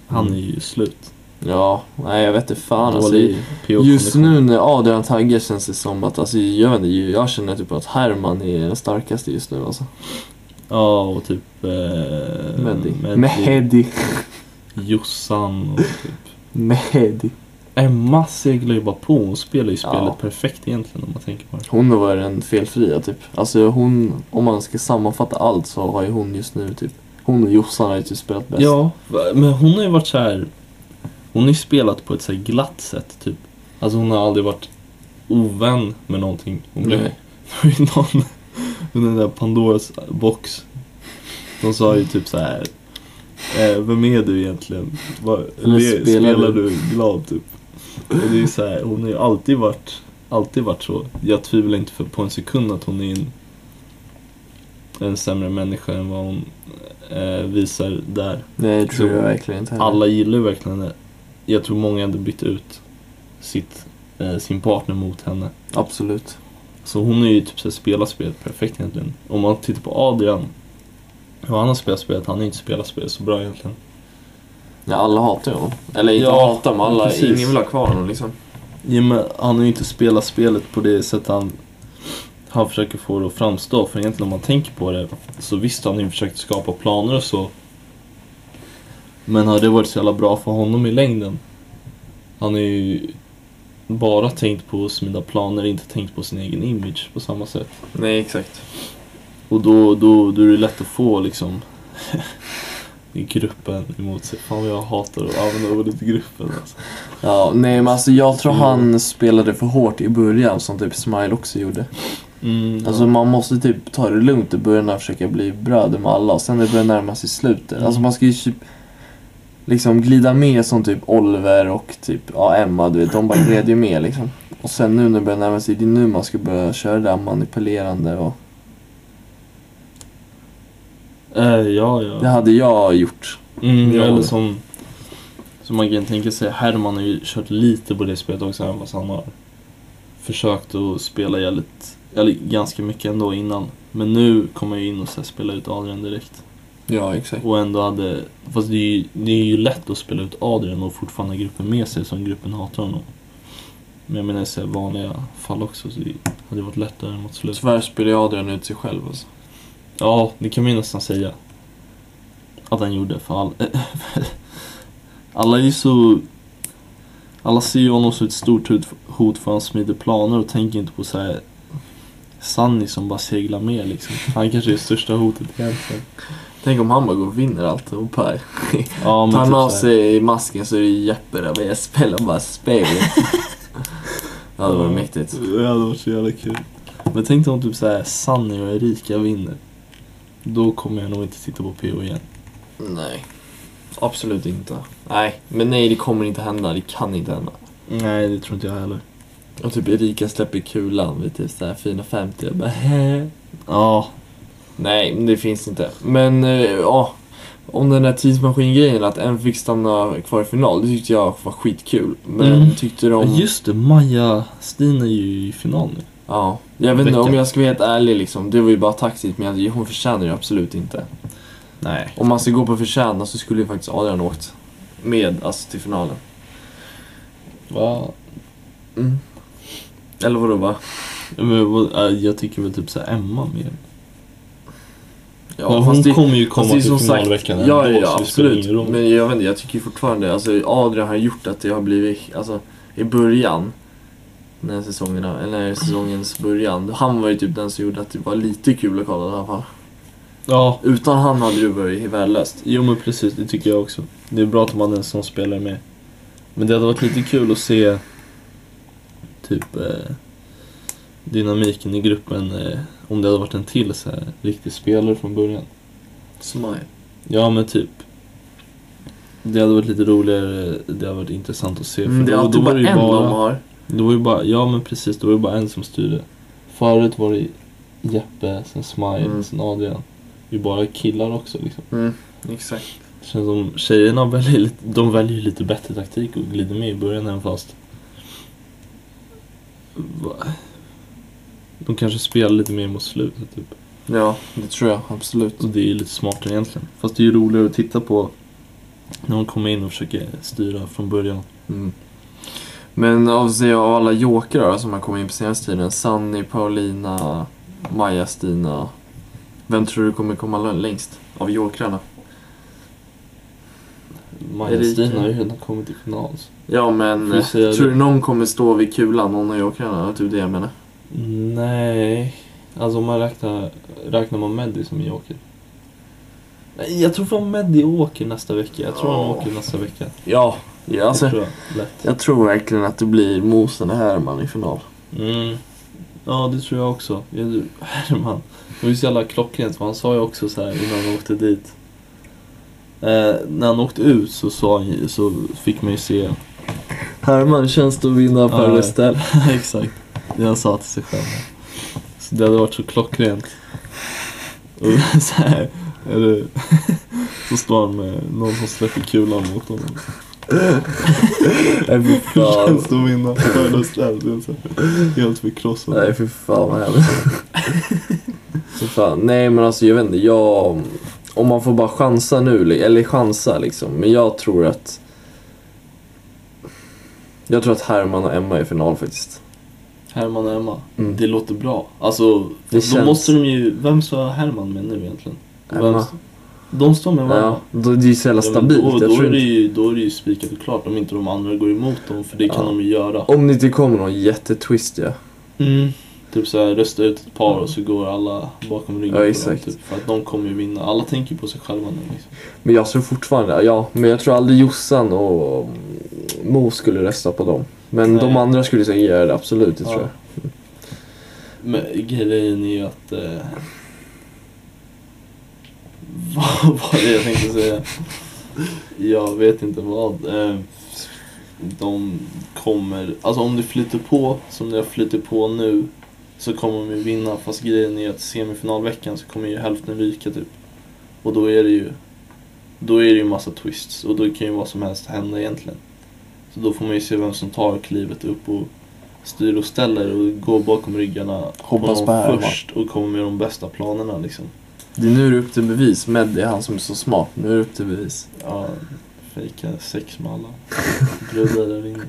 [SPEAKER 2] Han är ju slut.
[SPEAKER 3] Mm. Ja, nej jag vet inte fan alltså.
[SPEAKER 2] Dålig PO
[SPEAKER 3] Just
[SPEAKER 2] kondition.
[SPEAKER 3] nu när Adrian taggar känns det som att, alltså jag vet inte, jag känner typ att Herman är den starkaste just nu alltså.
[SPEAKER 2] Ja, och typ... Eh,
[SPEAKER 3] Mehdi.
[SPEAKER 2] Mehdi.
[SPEAKER 3] Mehdi.
[SPEAKER 2] Jossan och typ...
[SPEAKER 3] Mehdi.
[SPEAKER 2] Emma seglar ju bara på. Hon spelar ju spelet
[SPEAKER 3] Ja.
[SPEAKER 2] perfekt egentligen om man tänker på det.
[SPEAKER 3] Hon var den felfria typ. Alltså hon, om man ska sammanfatta allt så har ju hon just nu typ, hon och Jossan har ju typ spelat bäst.
[SPEAKER 2] Ja, va- men hon har ju varit så här. Hon har ju spelat på ett så här glatt sätt typ. Alltså hon har aldrig varit ovän med någonting. Hon blev
[SPEAKER 3] Nej.
[SPEAKER 2] det var ju någon under den där Pandoras box. De sa ju typ så här. Eh, vem är du egentligen? Var,
[SPEAKER 3] Eller
[SPEAKER 2] le,
[SPEAKER 3] spelar
[SPEAKER 2] spelar
[SPEAKER 3] du?"
[SPEAKER 2] du glad typ? Och det är ju så här, hon har ju alltid varit, alltid varit så. Jag tvivlar inte för, på en sekund att hon är en, en sämre människa än vad hon eh, visar där.
[SPEAKER 3] Nej, det tror
[SPEAKER 2] Så
[SPEAKER 3] jag verkligen inte heller.
[SPEAKER 2] Alla gillar ju verkligen henne. Jag tror många hade bytt ut sitt, eh, sin partner mot henne.
[SPEAKER 3] Absolut.
[SPEAKER 2] Så hon är ju typ såhär spelat spelet perfekt egentligen. Om man tittar på Adrian, hur han har spelat spelet, han har ju inte spelat spelet så bra egentligen.
[SPEAKER 3] Ja, alla hatar ju honom. Eller inte
[SPEAKER 2] Ja,
[SPEAKER 3] hatar, men alla,
[SPEAKER 2] precis.
[SPEAKER 3] ingen vill ha kvar honom liksom.
[SPEAKER 2] I och med, han har ju inte spelat spelet på det sätt han, han försöker få det att framstå. För egentligen om man tänker på det, så visst har han ju försökt skapa planer och så. Men har det varit så jävla bra för honom i längden? Han har ju bara tänkt på att smida planer, inte tänkt på sin egen image på samma sätt.
[SPEAKER 3] Nej, exakt.
[SPEAKER 2] Och då, då, då är det lätt att få liksom gruppen emot sig. Fan vad jag hatar att använda ordet gruppen alltså.
[SPEAKER 3] Ja, nej men alltså jag tror
[SPEAKER 2] Jo.
[SPEAKER 3] han spelade för hårt i början som typ Smile också gjorde.
[SPEAKER 2] Mm,
[SPEAKER 3] Alltså man måste typ ta det lugnt i början och försöka bli bröder med alla och sen när det börjar närma sig slutet.
[SPEAKER 2] Mm.
[SPEAKER 3] Alltså man ska ju typ liksom glida med som typ Oliver och typ ja, Emma, du vet. De bara gled ju med liksom. Och sen nu när det börjar närma sig, det är nu man ska börja köra det där manipulerande och
[SPEAKER 2] ja. Eh, ja, ja.
[SPEAKER 3] det hade jag gjort.
[SPEAKER 2] Mm,
[SPEAKER 3] Ja.
[SPEAKER 2] Eller som, som man kan tänka sig, Herman har ju kört lite på det spelet också även fast han har försökt att spela jävligt, eller ganska mycket ändå innan. Men nu kommer jag in och så här, spela ut Adrian direkt.
[SPEAKER 3] Ja, exakt.
[SPEAKER 2] Och ändå hade, fast det är, ju, det är ju lätt att spela ut Adrian och fortfarande ha gruppen med sig som gruppen hatar honom. Men jag menar i så här vanliga fall också så det hade varit lättare mot slutet.
[SPEAKER 3] Tyvärr spelar Adrian ut sig själv alltså.
[SPEAKER 2] Ja, det kan man ju nästan säga. Att han gjorde för all... alla är ju så... Alla ser ju honom som ett stort hot- hot för han smider planer och tänker inte på så här Sunny som bara seglar med liksom. Han kanske är det största hotet egentligen.
[SPEAKER 3] Tänk om han bara går och vinner allt och Per.
[SPEAKER 2] Ja,
[SPEAKER 3] Tar han
[SPEAKER 2] typ
[SPEAKER 3] av
[SPEAKER 2] så här-
[SPEAKER 3] sig masken så är det Jeppe där med spelar bara spel. ja, det var
[SPEAKER 2] Ja.
[SPEAKER 3] mäktigt.
[SPEAKER 2] Det hade varit så jävla kul. Men tänk dig om typ såhär Sunny och Erika vinner. Då kommer jag nog inte titta på PO igen.
[SPEAKER 3] Nej. Absolut inte. Nej, men nej det kommer inte hända. Det kan inte hända.
[SPEAKER 2] Nej, det tror inte jag heller.
[SPEAKER 3] Och typ Erika släpper kulan vid typ såhär 450. Jag bara "Hä?"
[SPEAKER 2] Ja,
[SPEAKER 3] Nej, men det finns inte. Men eh, ja. Om den där tidsmaskingrejen att en fick stanna kvar i final. Det tyckte jag var skitkul. Men
[SPEAKER 2] Mm.
[SPEAKER 3] tyckte de...
[SPEAKER 2] men just det. Maja Stina är ju i final nu.
[SPEAKER 3] Ja, jag vet inte
[SPEAKER 2] Veckan.
[SPEAKER 3] om jag ska vara helt ärlig liksom. Det var ju bara taktiskt men jag- hon förtjänar det absolut inte.
[SPEAKER 2] Nej.
[SPEAKER 3] Om man ska gå på förtjäna så skulle ju faktiskt Adrian ha åkt med alltså till finalen.
[SPEAKER 2] Va?
[SPEAKER 3] Mm. Eller vadå va?
[SPEAKER 2] Men, vad- äh, jag tycker väl typ såhär Emma mer.
[SPEAKER 3] Ja,
[SPEAKER 2] men
[SPEAKER 3] fast
[SPEAKER 2] hon
[SPEAKER 3] det-
[SPEAKER 2] kommer ju
[SPEAKER 3] fast
[SPEAKER 2] komma
[SPEAKER 3] det är
[SPEAKER 2] till
[SPEAKER 3] som sagt-
[SPEAKER 2] finalveckan
[SPEAKER 3] Ja, ja,
[SPEAKER 2] ändå,
[SPEAKER 3] ja
[SPEAKER 2] så det spelar
[SPEAKER 3] absolut.
[SPEAKER 2] ingen roll.
[SPEAKER 3] Men jag vet inte, jag tycker fortfarande, alltså Adrian har gjort att det har blivit, alltså i början, när säsongen, eller när säsongens början, han var ju typ den som gjorde att det var lite kul att kolla i alla fall.
[SPEAKER 2] Ja,
[SPEAKER 3] Utan han hade det varit värdelöst.
[SPEAKER 2] jo men precis. Det tycker jag också. Det är bra att man har en sån spelare med. Men det hade varit lite kul att se typ eh, dynamiken i gruppen eh, om det hade varit en till så här, riktig spelare från början.
[SPEAKER 3] Smile.
[SPEAKER 2] Ja men typ. Det hade varit lite roligare, det hade varit intressant att se.
[SPEAKER 3] Mm, det är
[SPEAKER 2] då- då
[SPEAKER 3] alltid
[SPEAKER 2] var
[SPEAKER 3] bara
[SPEAKER 2] ju
[SPEAKER 3] en de har.
[SPEAKER 2] Då var ju bara, ja men precis, då var det bara en som styrde. Förut var det Jeppe, sen Smile,
[SPEAKER 3] Mm.
[SPEAKER 2] sen Adrian. Vi bara killar också liksom.
[SPEAKER 3] Mm, exakt.
[SPEAKER 2] Känns som tjejerna väljer lite, de väljer ju lite bättre taktik och glider med i början även fast... Va? De kanske spelar lite mer mot slutet typ.
[SPEAKER 3] Ja, det tror jag absolut.
[SPEAKER 2] Och det är ju lite smartare egentligen. Fast det är ju roligare att titta på när de kommer in och försöker styra från början.
[SPEAKER 3] Mm. Men av, se, av alla jokrar som har kommit in på senaste tiden, Sanni, Paulina, Maja, Stina. Vem tror du kommer komma lö- längst av jokrarna?
[SPEAKER 2] Maja-Stina har ju redan kommit till final. så-
[SPEAKER 3] Ja men,
[SPEAKER 2] Får vi
[SPEAKER 3] eh,
[SPEAKER 2] se
[SPEAKER 3] tror
[SPEAKER 2] det?
[SPEAKER 3] du någon kommer stå vid kulan, någon av jokrarna? Det är typ det jag menar.
[SPEAKER 2] Nej, alltså om man räknar, räknar man Meddy som joker? Nej, jag tror fan Meddy åker nästa vecka. Jag tror han
[SPEAKER 3] Ja.
[SPEAKER 2] åker nästa vecka. Det
[SPEAKER 3] Ja, ja alltså,
[SPEAKER 2] tror jag, lätt.
[SPEAKER 3] jag tror verkligen att det blir Mosen och Herman i final.
[SPEAKER 2] Mm. Ja, det tror jag också. Jag, Herman, det var ju så jävla klockrent för han sa ju också så här innan han åkte dit. Eh, när han åkte ut så, sa han, ju- så fick man ju se
[SPEAKER 3] Herman, känns det att vinna
[SPEAKER 2] Ja.
[SPEAKER 3] Paradise Hotel?
[SPEAKER 2] Exakt, det han sa till sig själv. Så det hade varit så klockrent. Och så här, är det, så står han med någon som släpper kulan mot honom.
[SPEAKER 3] Nej fy
[SPEAKER 2] Hur
[SPEAKER 3] fan.
[SPEAKER 2] känns det att vinna födelsedag? Helt förkrossad.
[SPEAKER 3] Nej fy fan vad hemskt. Fy fan. Nej men alltså jag vet inte, jag... Om man får bara chansa nu, li- eller chansa liksom. Men jag tror att... Jag tror att Herman och Emma är i final faktiskt.
[SPEAKER 2] Herman och Emma,
[SPEAKER 3] Mm.
[SPEAKER 2] det låter bra. Alltså,
[SPEAKER 3] Det
[SPEAKER 2] då
[SPEAKER 3] känns-
[SPEAKER 2] måste de ju... Vem står Herman med nu egentligen? Vem
[SPEAKER 3] Emma.
[SPEAKER 2] st- De står med varandra.
[SPEAKER 3] Ja, då, det är ju så jävla
[SPEAKER 2] Ja, men
[SPEAKER 3] stabilt.
[SPEAKER 2] Då,
[SPEAKER 3] jag
[SPEAKER 2] då,
[SPEAKER 3] tror
[SPEAKER 2] är det
[SPEAKER 3] inte...
[SPEAKER 2] ju, då är det ju spikat och klart om inte de andra går emot dem, för det kan
[SPEAKER 3] Ja.
[SPEAKER 2] de ju göra.
[SPEAKER 3] Om det inte kommer någon jättetwist ja.
[SPEAKER 2] Mm. Typ såhär, rösta ut ett par och så går alla bakom ryggen
[SPEAKER 3] Mm. Ja,
[SPEAKER 2] på
[SPEAKER 3] exakt.
[SPEAKER 2] dem. Typ, för att de kommer ju vinna. Alla tänker på sig själva nu liksom.
[SPEAKER 3] Men jag tror fortfarande, ja. Men jag tror aldrig Jossan och Mo skulle rösta på dem. Men
[SPEAKER 2] Nej.
[SPEAKER 3] de andra skulle säkert göra det, absolut. Det
[SPEAKER 2] Ja.
[SPEAKER 3] tror jag.
[SPEAKER 2] Men grejen är ju att... Eh... Vad var det jag tänkte säga? Jag vet inte vad. Eh, de kommer... Alltså om det flyter på som det har flyttit på nu så kommer de ju vinna. Fast grejen är att semifinalveckan så kommer ju hälften ryka typ. Och då är det ju... Då är det ju massa twists och då kan ju vad som helst hända egentligen. Så då får man ju se vem som tar klivet upp och styr och ställer och går bakom ryggarna
[SPEAKER 3] Hoppas
[SPEAKER 2] på
[SPEAKER 3] på
[SPEAKER 2] dem
[SPEAKER 3] Herman.
[SPEAKER 2] först och kommer med de bästa planerna liksom.
[SPEAKER 3] Det är nu är det upp till bevis. Med är han som är så smart. Nu är det upp till bevis.
[SPEAKER 2] Ja, fejka sex med alla. Brudar eller inget.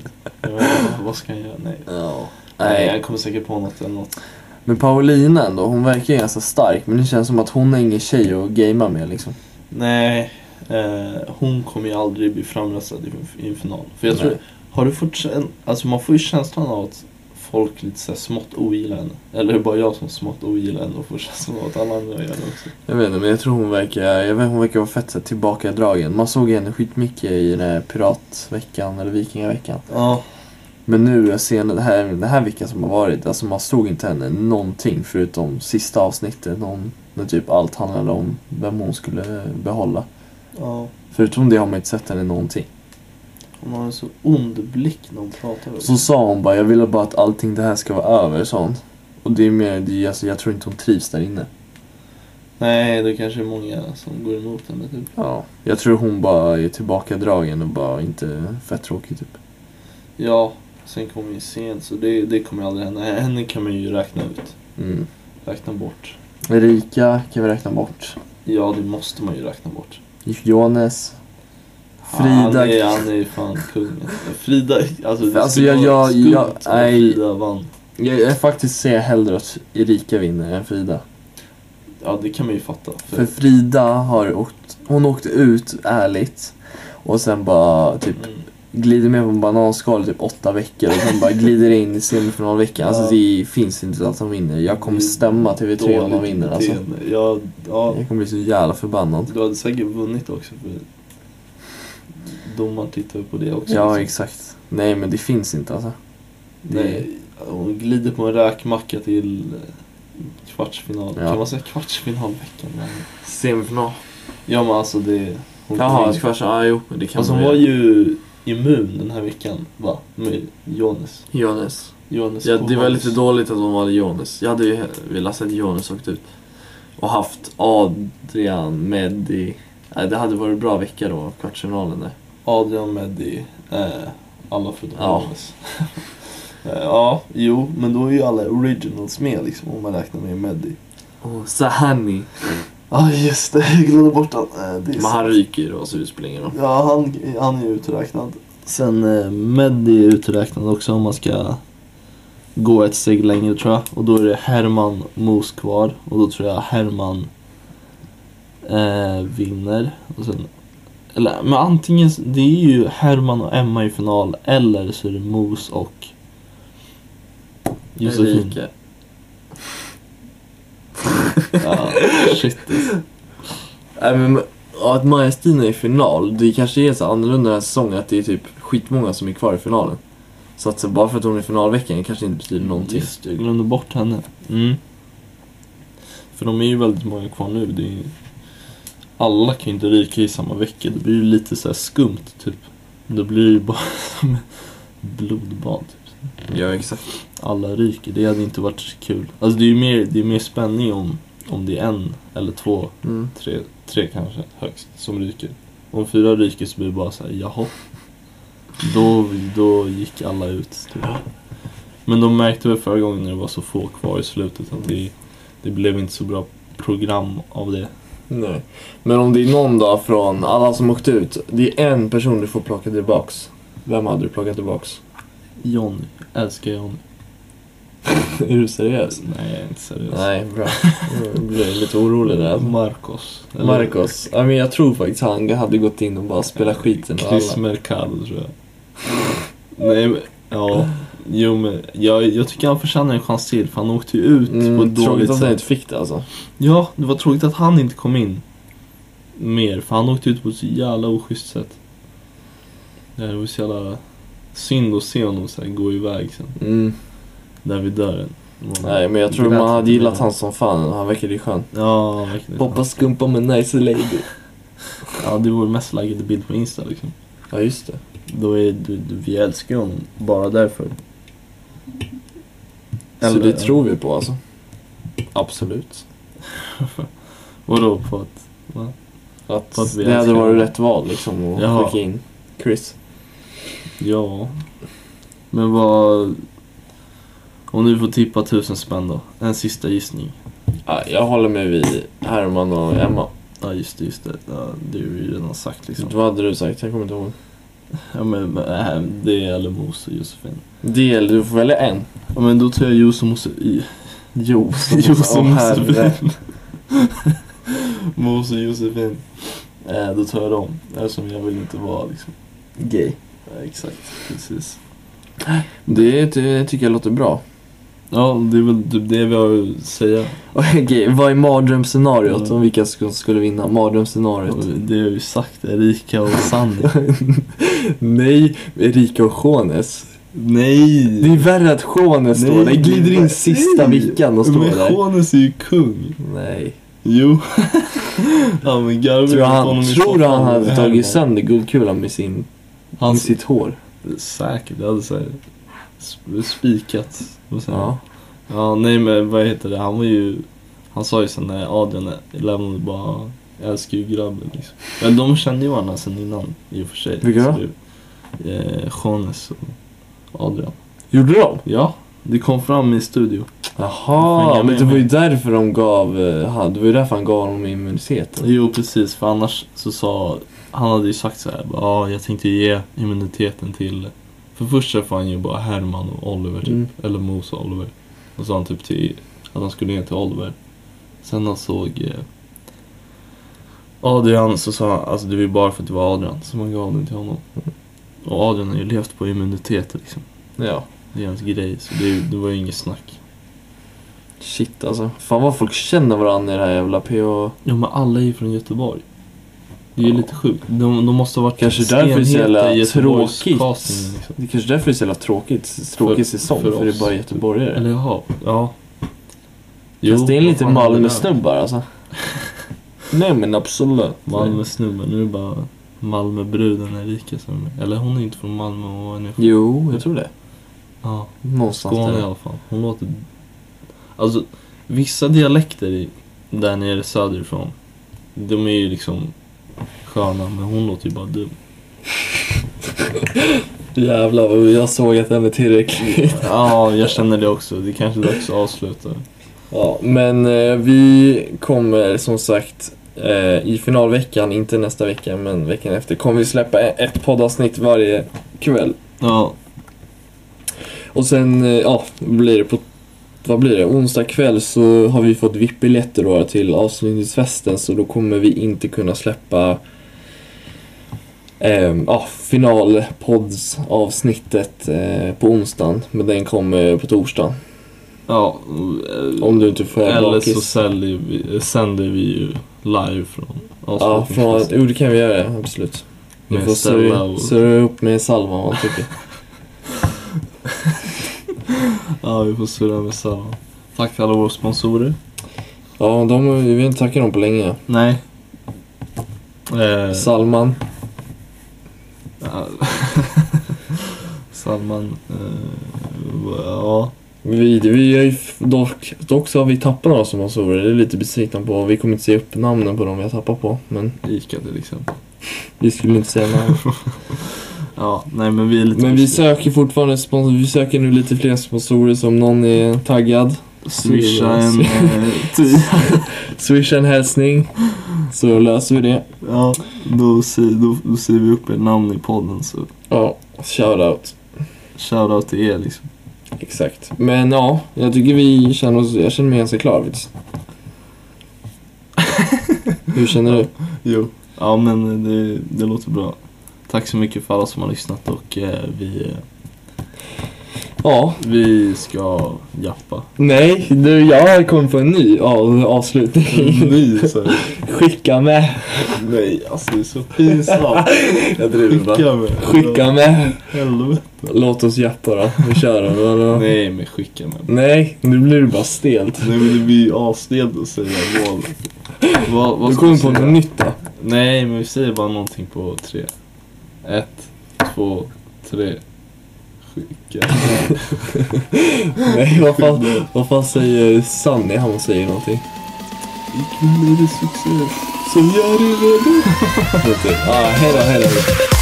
[SPEAKER 2] Jag vet inte, Vad ska han göra? Nej.
[SPEAKER 3] Ja.
[SPEAKER 2] Nej,
[SPEAKER 3] Nej.
[SPEAKER 2] han kommer säkert på något eller något.
[SPEAKER 3] Men Paulina ändå, hon verkar ju ganska stark. Men det känns som att hon är ingen tjej att gamea med liksom.
[SPEAKER 2] Nej, eh, hon kommer ju aldrig bli framröstad i- i en final. För jag tror,
[SPEAKER 3] Nej.
[SPEAKER 2] har du fått kän- alltså man får ju känslan av att folk lite så här smått ogillar henne. Eller är det bara jag som smått ogillar henne och får känslan av att alla andra gör det också?
[SPEAKER 3] Jag vet inte, men jag tror hon verkar, jag vet, hon verkar vara fett så här tillbakadragen. Man såg henne skitmycket i den här piratveckan eller vikingaveckan.
[SPEAKER 2] Ja,
[SPEAKER 3] Men nu, jag ser den här, den här veckan som har varit, alltså man såg inte henne någonting förutom sista avsnittet. Någon, när typ allt handlade om vem hon skulle behålla.
[SPEAKER 2] ja.
[SPEAKER 3] Förutom det har man inte sett henne någonting.
[SPEAKER 2] Hon har en så ond blick när hon pratar.
[SPEAKER 3] Så sa hon bara, jag ville bara att allting det här ska vara över, sa hon. Och det är mer, det är, alltså, jag tror inte hon trivs där inne.
[SPEAKER 2] Nej, det kanske är många som går emot henne typ.
[SPEAKER 3] Ja. Jag tror hon bara är tillbakadragen och bara inte fett tråkig typ.
[SPEAKER 2] Ja, sen kommer ju sent så det, det kommer ju aldrig hända. Henne kan man ju räkna ut.
[SPEAKER 3] Mm.
[SPEAKER 2] Räkna bort.
[SPEAKER 3] Erika kan vi räkna bort.
[SPEAKER 2] Ja, det måste man ju räkna bort.
[SPEAKER 3] Jonas. Frida.
[SPEAKER 2] Han är, han är ju fan kungen. Frida, alltså det
[SPEAKER 3] Alltså,
[SPEAKER 2] skulle
[SPEAKER 3] jag-
[SPEAKER 2] vara
[SPEAKER 3] jag-
[SPEAKER 2] skumt
[SPEAKER 3] jag-
[SPEAKER 2] om
[SPEAKER 3] nej.
[SPEAKER 2] Frida vann.
[SPEAKER 3] Jag, jag faktiskt ser hellre att Erika vinner än Frida.
[SPEAKER 2] Ja, det kan man ju fatta. För,
[SPEAKER 3] För Frida har åkt, hon åkte ut ärligt. Och sen bara typ
[SPEAKER 2] mm,
[SPEAKER 3] glider med på en bananskal i typ åtta veckor och sen bara glider in i semifinalveckan. Alltså
[SPEAKER 2] Ja.
[SPEAKER 3] det finns inte att de vinner. Jag kommer
[SPEAKER 2] Det är
[SPEAKER 3] stämma TV3 typ om de
[SPEAKER 2] dåligt
[SPEAKER 3] vinner alltså.
[SPEAKER 2] beteende. Ja, ja,
[SPEAKER 3] Jag kommer bli så jävla förbannad.
[SPEAKER 2] du hade säkert vunnit också för domaren tittar ju på det också.
[SPEAKER 3] Ja
[SPEAKER 2] liksom.
[SPEAKER 3] exakt. Nej men det finns inte alltså. Det-
[SPEAKER 2] Nej, hon glider på en räkmacka till kvartsfinal.
[SPEAKER 3] Ja.
[SPEAKER 2] Kan man säga kvartsfinalveckan? Nej.
[SPEAKER 3] Semifinal.
[SPEAKER 2] Ja men alltså det... Hon
[SPEAKER 3] Jaha, kvarts... Ja jo, men det kan
[SPEAKER 2] Fast hon
[SPEAKER 3] man
[SPEAKER 2] var
[SPEAKER 3] göra.
[SPEAKER 2] ju immun den här veckan va? Med Jonas.
[SPEAKER 3] Jonas.
[SPEAKER 2] Jonas
[SPEAKER 3] Ja, det var
[SPEAKER 2] Kovacs.
[SPEAKER 3] lite dåligt att hon valde Jonas. Jag hade ju velat sett Jonas åkt ut. Och haft Adrian, Meddi, Nej, det hade varit bra vecka då, kvartsfinalen där.
[SPEAKER 2] Adrian, Meddi, eh, alla förutom
[SPEAKER 3] Ja.
[SPEAKER 2] Johannes. eh, ja, jo, men då är ju alla originals med liksom om man räknar med Meddi.
[SPEAKER 3] Och Sahani.
[SPEAKER 2] Ja, ah, just det. Jag glömde bort han. Eh, det är
[SPEAKER 3] Men han
[SPEAKER 2] sant.
[SPEAKER 3] ryker ju då, så det spelar ingen roll.
[SPEAKER 2] Ja, han, han är ju uträknad. Sen eh, Meddi är uträknad också om man ska gå ett steg längre tror jag. Och då är det Herman Mos kvar. Och då tror jag Herman eh, vinner. Och sen, eller, men antingen, det är ju Herman och Emma i final eller så är det Mos och Josefin.
[SPEAKER 3] Erika.
[SPEAKER 2] Ja, shit.
[SPEAKER 3] Nej, men ja, att Maja-Stina är i final, det kanske är så annorlunda den här säsongen att det är typ skitmånga som är kvar i finalen. Så att så bara för att hon är i finalveckan kanske inte betyder någonting.
[SPEAKER 2] Mm, Just det, jag glömde bort henne. Mm. För de är ju väldigt många kvar nu. Det är... ju- Alla kan ju inte ryka i samma vecka. Det blir ju lite så här skumt typ. Då blir det ju bara som ett blodbad. Typ.
[SPEAKER 3] Ja, exakt.
[SPEAKER 2] Alla ryker. Det hade inte varit så kul. Alltså det är ju mer, det är mer spänning om, om det är en eller två,
[SPEAKER 3] Mm.
[SPEAKER 2] tre, tre kanske högst som ryker. Om fyra ryker så blir det bara så här, jaha. Då, då gick alla ut. Typ. Men de märkte väl förra gången när det var så få kvar i slutet att det, det blev inte så bra program av det.
[SPEAKER 3] Nej. Men om det är någon dag från alla som åkte ut, det är en person du får plocka tillbaks. Vem hade du plockat tillbaks?
[SPEAKER 2] Johnny, älskar Johnny.
[SPEAKER 3] är du seriös?
[SPEAKER 2] Nej, jag är inte seriös.
[SPEAKER 3] Nej, bra. Jag blir lite orolig där.
[SPEAKER 2] Mm. Marcos. eller
[SPEAKER 3] Marcos. Ja, men jag tror faktiskt han hade gått in och bara spelat skiten och
[SPEAKER 2] Chris
[SPEAKER 3] alla.
[SPEAKER 2] Mercado tror jag. Nej, men, ja. Jo, men jag, jag tycker han förtjänar en chans till för han åkte ju ut på
[SPEAKER 3] Mm,
[SPEAKER 2] ett
[SPEAKER 3] tråkigt
[SPEAKER 2] dåligt
[SPEAKER 3] att han
[SPEAKER 2] sätt.
[SPEAKER 3] inte fick det alltså.
[SPEAKER 2] Ja, det var tråkigt att han inte kom in mer, för han åkte ut på ett så jävla oschysst sätt. Det var så jävla synd att se honom så här gå iväg sen,
[SPEAKER 3] Mm.
[SPEAKER 2] där vid dörren. Man
[SPEAKER 3] Nej, men jag tror
[SPEAKER 2] grät
[SPEAKER 3] man hade
[SPEAKER 2] lite
[SPEAKER 3] gillat
[SPEAKER 2] mer.
[SPEAKER 3] han som fan. Han verkade ju skön.
[SPEAKER 2] Ja, verkligen.
[SPEAKER 3] Poppa skumpa med nice lady.
[SPEAKER 2] Ja, det var mest likade bild på Insta liksom.
[SPEAKER 3] Ja, just det.
[SPEAKER 2] Då är du, du, vi älskar honom bara därför.
[SPEAKER 3] Så det tror vi på alltså. Absolut.
[SPEAKER 2] Vadå på att...
[SPEAKER 3] Att,
[SPEAKER 2] För att vi
[SPEAKER 3] det hade
[SPEAKER 2] älskar
[SPEAKER 3] varit
[SPEAKER 2] honom.
[SPEAKER 3] rätt val liksom att
[SPEAKER 2] Jaha.
[SPEAKER 3] skicka in Chris.
[SPEAKER 2] Ja. Men vad... Om du får tippa tusen spänn då. En sista gissning.
[SPEAKER 3] Ja, jag håller med vid Herman och Emma.
[SPEAKER 2] Ja just det, just det. Ja, det har vi ju redan sagt liksom.
[SPEAKER 3] Vad hade du sagt? Jag kommer inte ihåg.
[SPEAKER 2] Ja men men, äh, det är eller Mose och Josefin.
[SPEAKER 3] Det eller du får välja en.
[SPEAKER 2] Ja men då tar jag Jos och Mose i.
[SPEAKER 3] Jo,
[SPEAKER 2] Jo, som
[SPEAKER 3] herre.
[SPEAKER 2] Mose och Josefin. Eh, då tar jag dem. Eftersom jag vill inte vara liksom.
[SPEAKER 3] Gay.
[SPEAKER 2] Ja, exakt, precis.
[SPEAKER 3] Det ty- tycker jag låter bra.
[SPEAKER 2] Ja, det är väl typ det vi har att säga.
[SPEAKER 3] Okej, vad är mardrömsscenariot
[SPEAKER 2] Mm.
[SPEAKER 3] om vilka som skulle vinna? Mardrömsscenariot.
[SPEAKER 2] Och Det har vi sagt, Erika och Sanni.
[SPEAKER 3] Nej, Erika och Jones.
[SPEAKER 2] Nej!
[SPEAKER 3] Det är värre att Jones står där. Glider in sista
[SPEAKER 2] nej.
[SPEAKER 3] vickan och står
[SPEAKER 2] Men
[SPEAKER 3] där.
[SPEAKER 2] Johannes är ju kung.
[SPEAKER 3] Nej.
[SPEAKER 2] Jo. ja men garvar
[SPEAKER 3] Tror
[SPEAKER 2] åt honom
[SPEAKER 3] han,
[SPEAKER 2] i
[SPEAKER 3] tror
[SPEAKER 2] soffan
[SPEAKER 3] han
[SPEAKER 2] med
[SPEAKER 3] hade tagit
[SPEAKER 2] Herman.
[SPEAKER 3] sönder guldkulan med, sin, med
[SPEAKER 2] Hans
[SPEAKER 3] sitt hår?
[SPEAKER 2] Säkert, jag hade såhär sp- spikat. Och sen, ja.
[SPEAKER 3] Ja.
[SPEAKER 2] ja, nej men vad heter det, han var ju, han sa ju sen när Adrian lämnade bara, jag älskar ju grabben liksom. Men de kände ju varandra sen innan i och för sig.
[SPEAKER 3] Vilka
[SPEAKER 2] Så
[SPEAKER 3] då?
[SPEAKER 2] det- Eh, Jones och Adrian.
[SPEAKER 3] Gjorde de?
[SPEAKER 2] Ja, det kom fram i studio.
[SPEAKER 3] Jaha,
[SPEAKER 2] Hänga
[SPEAKER 3] men
[SPEAKER 2] med
[SPEAKER 3] det var
[SPEAKER 2] mig.
[SPEAKER 3] ju därför de gav, eh, han- det var ju därför han gav honom immuniteten.
[SPEAKER 2] Jo precis, för annars så sa, han hade ju sagt så här, bara, ja jag tänkte ge immuniteten till, för först träffade han ju bara Herman och Oliver typ,
[SPEAKER 3] Mm.
[SPEAKER 2] eller Mos och Oliver. Och sa han typ till, att han skulle ge till Oliver. Sen han såg eh, Adrian så sa han, alltså det var ju bara för att det var Adrian som han gav den till honom. Och Adrian har ju levt på immunitet liksom.
[SPEAKER 3] Ja.
[SPEAKER 2] Det är hans grej, så det, det var ju inget snack.
[SPEAKER 3] Shit alltså. Fan vad folk känner varandra i det här jävla PH.
[SPEAKER 2] Ja men alla är ju från Göteborg. Det är ju
[SPEAKER 3] Ja.
[SPEAKER 2] lite sjukt. De, de måste ha varit
[SPEAKER 3] Kanske därför det är så
[SPEAKER 2] stenheta
[SPEAKER 3] jävla
[SPEAKER 2] i Göteborgs
[SPEAKER 3] tråkigt.
[SPEAKER 2] casting, liksom.
[SPEAKER 3] Det är kanske därför det är så jävla tråkigt, tråkig säsong.
[SPEAKER 2] för
[SPEAKER 3] För, det
[SPEAKER 2] oss.
[SPEAKER 3] är bara göteborgare.
[SPEAKER 2] Eller jaha, ja.
[SPEAKER 3] Fast det är
[SPEAKER 2] vad
[SPEAKER 3] lite
[SPEAKER 2] fan händer där?
[SPEAKER 3] Malmö-snubbar alltså. Nej men absolut.
[SPEAKER 2] Malmö-snubben, nu är det bara Malmöbruden Erika som är med. Eller hon är inte från Malmö och hon är från...
[SPEAKER 3] Jo, jag tror det.
[SPEAKER 2] Ja,
[SPEAKER 3] Någonstans
[SPEAKER 2] Skåne i
[SPEAKER 3] där.
[SPEAKER 2] alla fall. Hon låter... Alltså, vissa dialekter i, där nere söderifrån, de är ju liksom sköna men hon låter ju bara dum.
[SPEAKER 3] Jävlar vad jag såg att den är tillräcklig.
[SPEAKER 2] Ja, jag känner det också. Det kanske är dags att avsluta.
[SPEAKER 3] Ja, men eh, vi kommer som sagt eh, i finalveckan, inte nästa vecka men veckan efter, kommer vi släppa e- ett poddavsnitt varje kväll.
[SPEAKER 2] Ja,
[SPEAKER 3] Och sen, eh, ja, blir det på, vad blir det, onsdag kväll så har vi fått VIP-biljetter då till avslutningsfesten så då kommer vi inte kunna släppa eh, ja, finalpoddsavsnittet eh, på onsdagen, men den kommer på torsdagen.
[SPEAKER 2] ja. och, eh,
[SPEAKER 3] Om du inte får
[SPEAKER 2] Eller
[SPEAKER 3] bakis.
[SPEAKER 2] så säljer vi, eh, sänder vi ju live från
[SPEAKER 3] Ja, från,
[SPEAKER 2] avslutningsfesten.
[SPEAKER 3] jo det kan vi göra, absolut. Vi
[SPEAKER 2] Med
[SPEAKER 3] får
[SPEAKER 2] Stella
[SPEAKER 3] surra
[SPEAKER 2] och...
[SPEAKER 3] surra upp med Salman vad han tycker.
[SPEAKER 2] Ja, vi får surra med Stella. Tack till alla våra sponsorer.
[SPEAKER 3] Ja, de, vi har inte tackat dem på länge.
[SPEAKER 2] Nej. Eh,
[SPEAKER 3] Salman,
[SPEAKER 2] ja. Salman. Eh, ja.
[SPEAKER 3] vi, vi har ju f- dock, dock så har vi tappat några sponsorer, det är lite besviken på. Vi kommer inte se upp namnen på dem vi har tappat på, men
[SPEAKER 2] Ica till exempel.
[SPEAKER 3] vi skulle inte säga namn.
[SPEAKER 2] Ja, nej men vi är lite
[SPEAKER 3] Men vi
[SPEAKER 2] besvikna.
[SPEAKER 3] söker fortfarande sponsorer, vi söker nu lite fler sponsorer så om någon är taggad.
[SPEAKER 2] Swisha en eh, tio.
[SPEAKER 3] Swisha en hälsning, så löser vi det.
[SPEAKER 2] Ja, då, ser- då, då ser vi upp er namn i podden så
[SPEAKER 3] Ja, shoutout.
[SPEAKER 2] shoutout till er liksom.
[SPEAKER 3] Exakt. Men ja, jag tycker vi känner oss, jag känner mig ganska klar faktiskt. Hur känner du?
[SPEAKER 2] Jo. Ja men det, det låter bra. Tack så mycket för alla som har lyssnat och eh, vi, eh,
[SPEAKER 3] Ja,
[SPEAKER 2] vi ska jappa.
[SPEAKER 3] nej, du, jag kom på en ny av- avslutning.
[SPEAKER 2] Ny så här.
[SPEAKER 3] Skicka med.
[SPEAKER 2] Nej alltså det är så pinsamt.
[SPEAKER 3] Jag
[SPEAKER 2] Skicka mig.
[SPEAKER 3] Skicka med.
[SPEAKER 2] Helvete.
[SPEAKER 3] Låt oss jappa då. Vi kör då. då. då.
[SPEAKER 2] Nej men skicka mig.
[SPEAKER 3] Nej, nu blir det bara stelt.
[SPEAKER 2] Nej men det blir ju asstelt att säga mål. Vad, vad
[SPEAKER 3] Du
[SPEAKER 2] ska
[SPEAKER 3] kommer
[SPEAKER 2] vi
[SPEAKER 3] på
[SPEAKER 2] säga?
[SPEAKER 3] något nytt då.
[SPEAKER 2] Nej men vi säger bara någonting på tre. Ett, två, tre. Skicka.
[SPEAKER 3] Nej, vad fan, vad fan säger Sunny? Han säger någonting.
[SPEAKER 2] Ikväll är det succé.
[SPEAKER 3] Så gör det redo. Ja, Ah, hej då, hej då.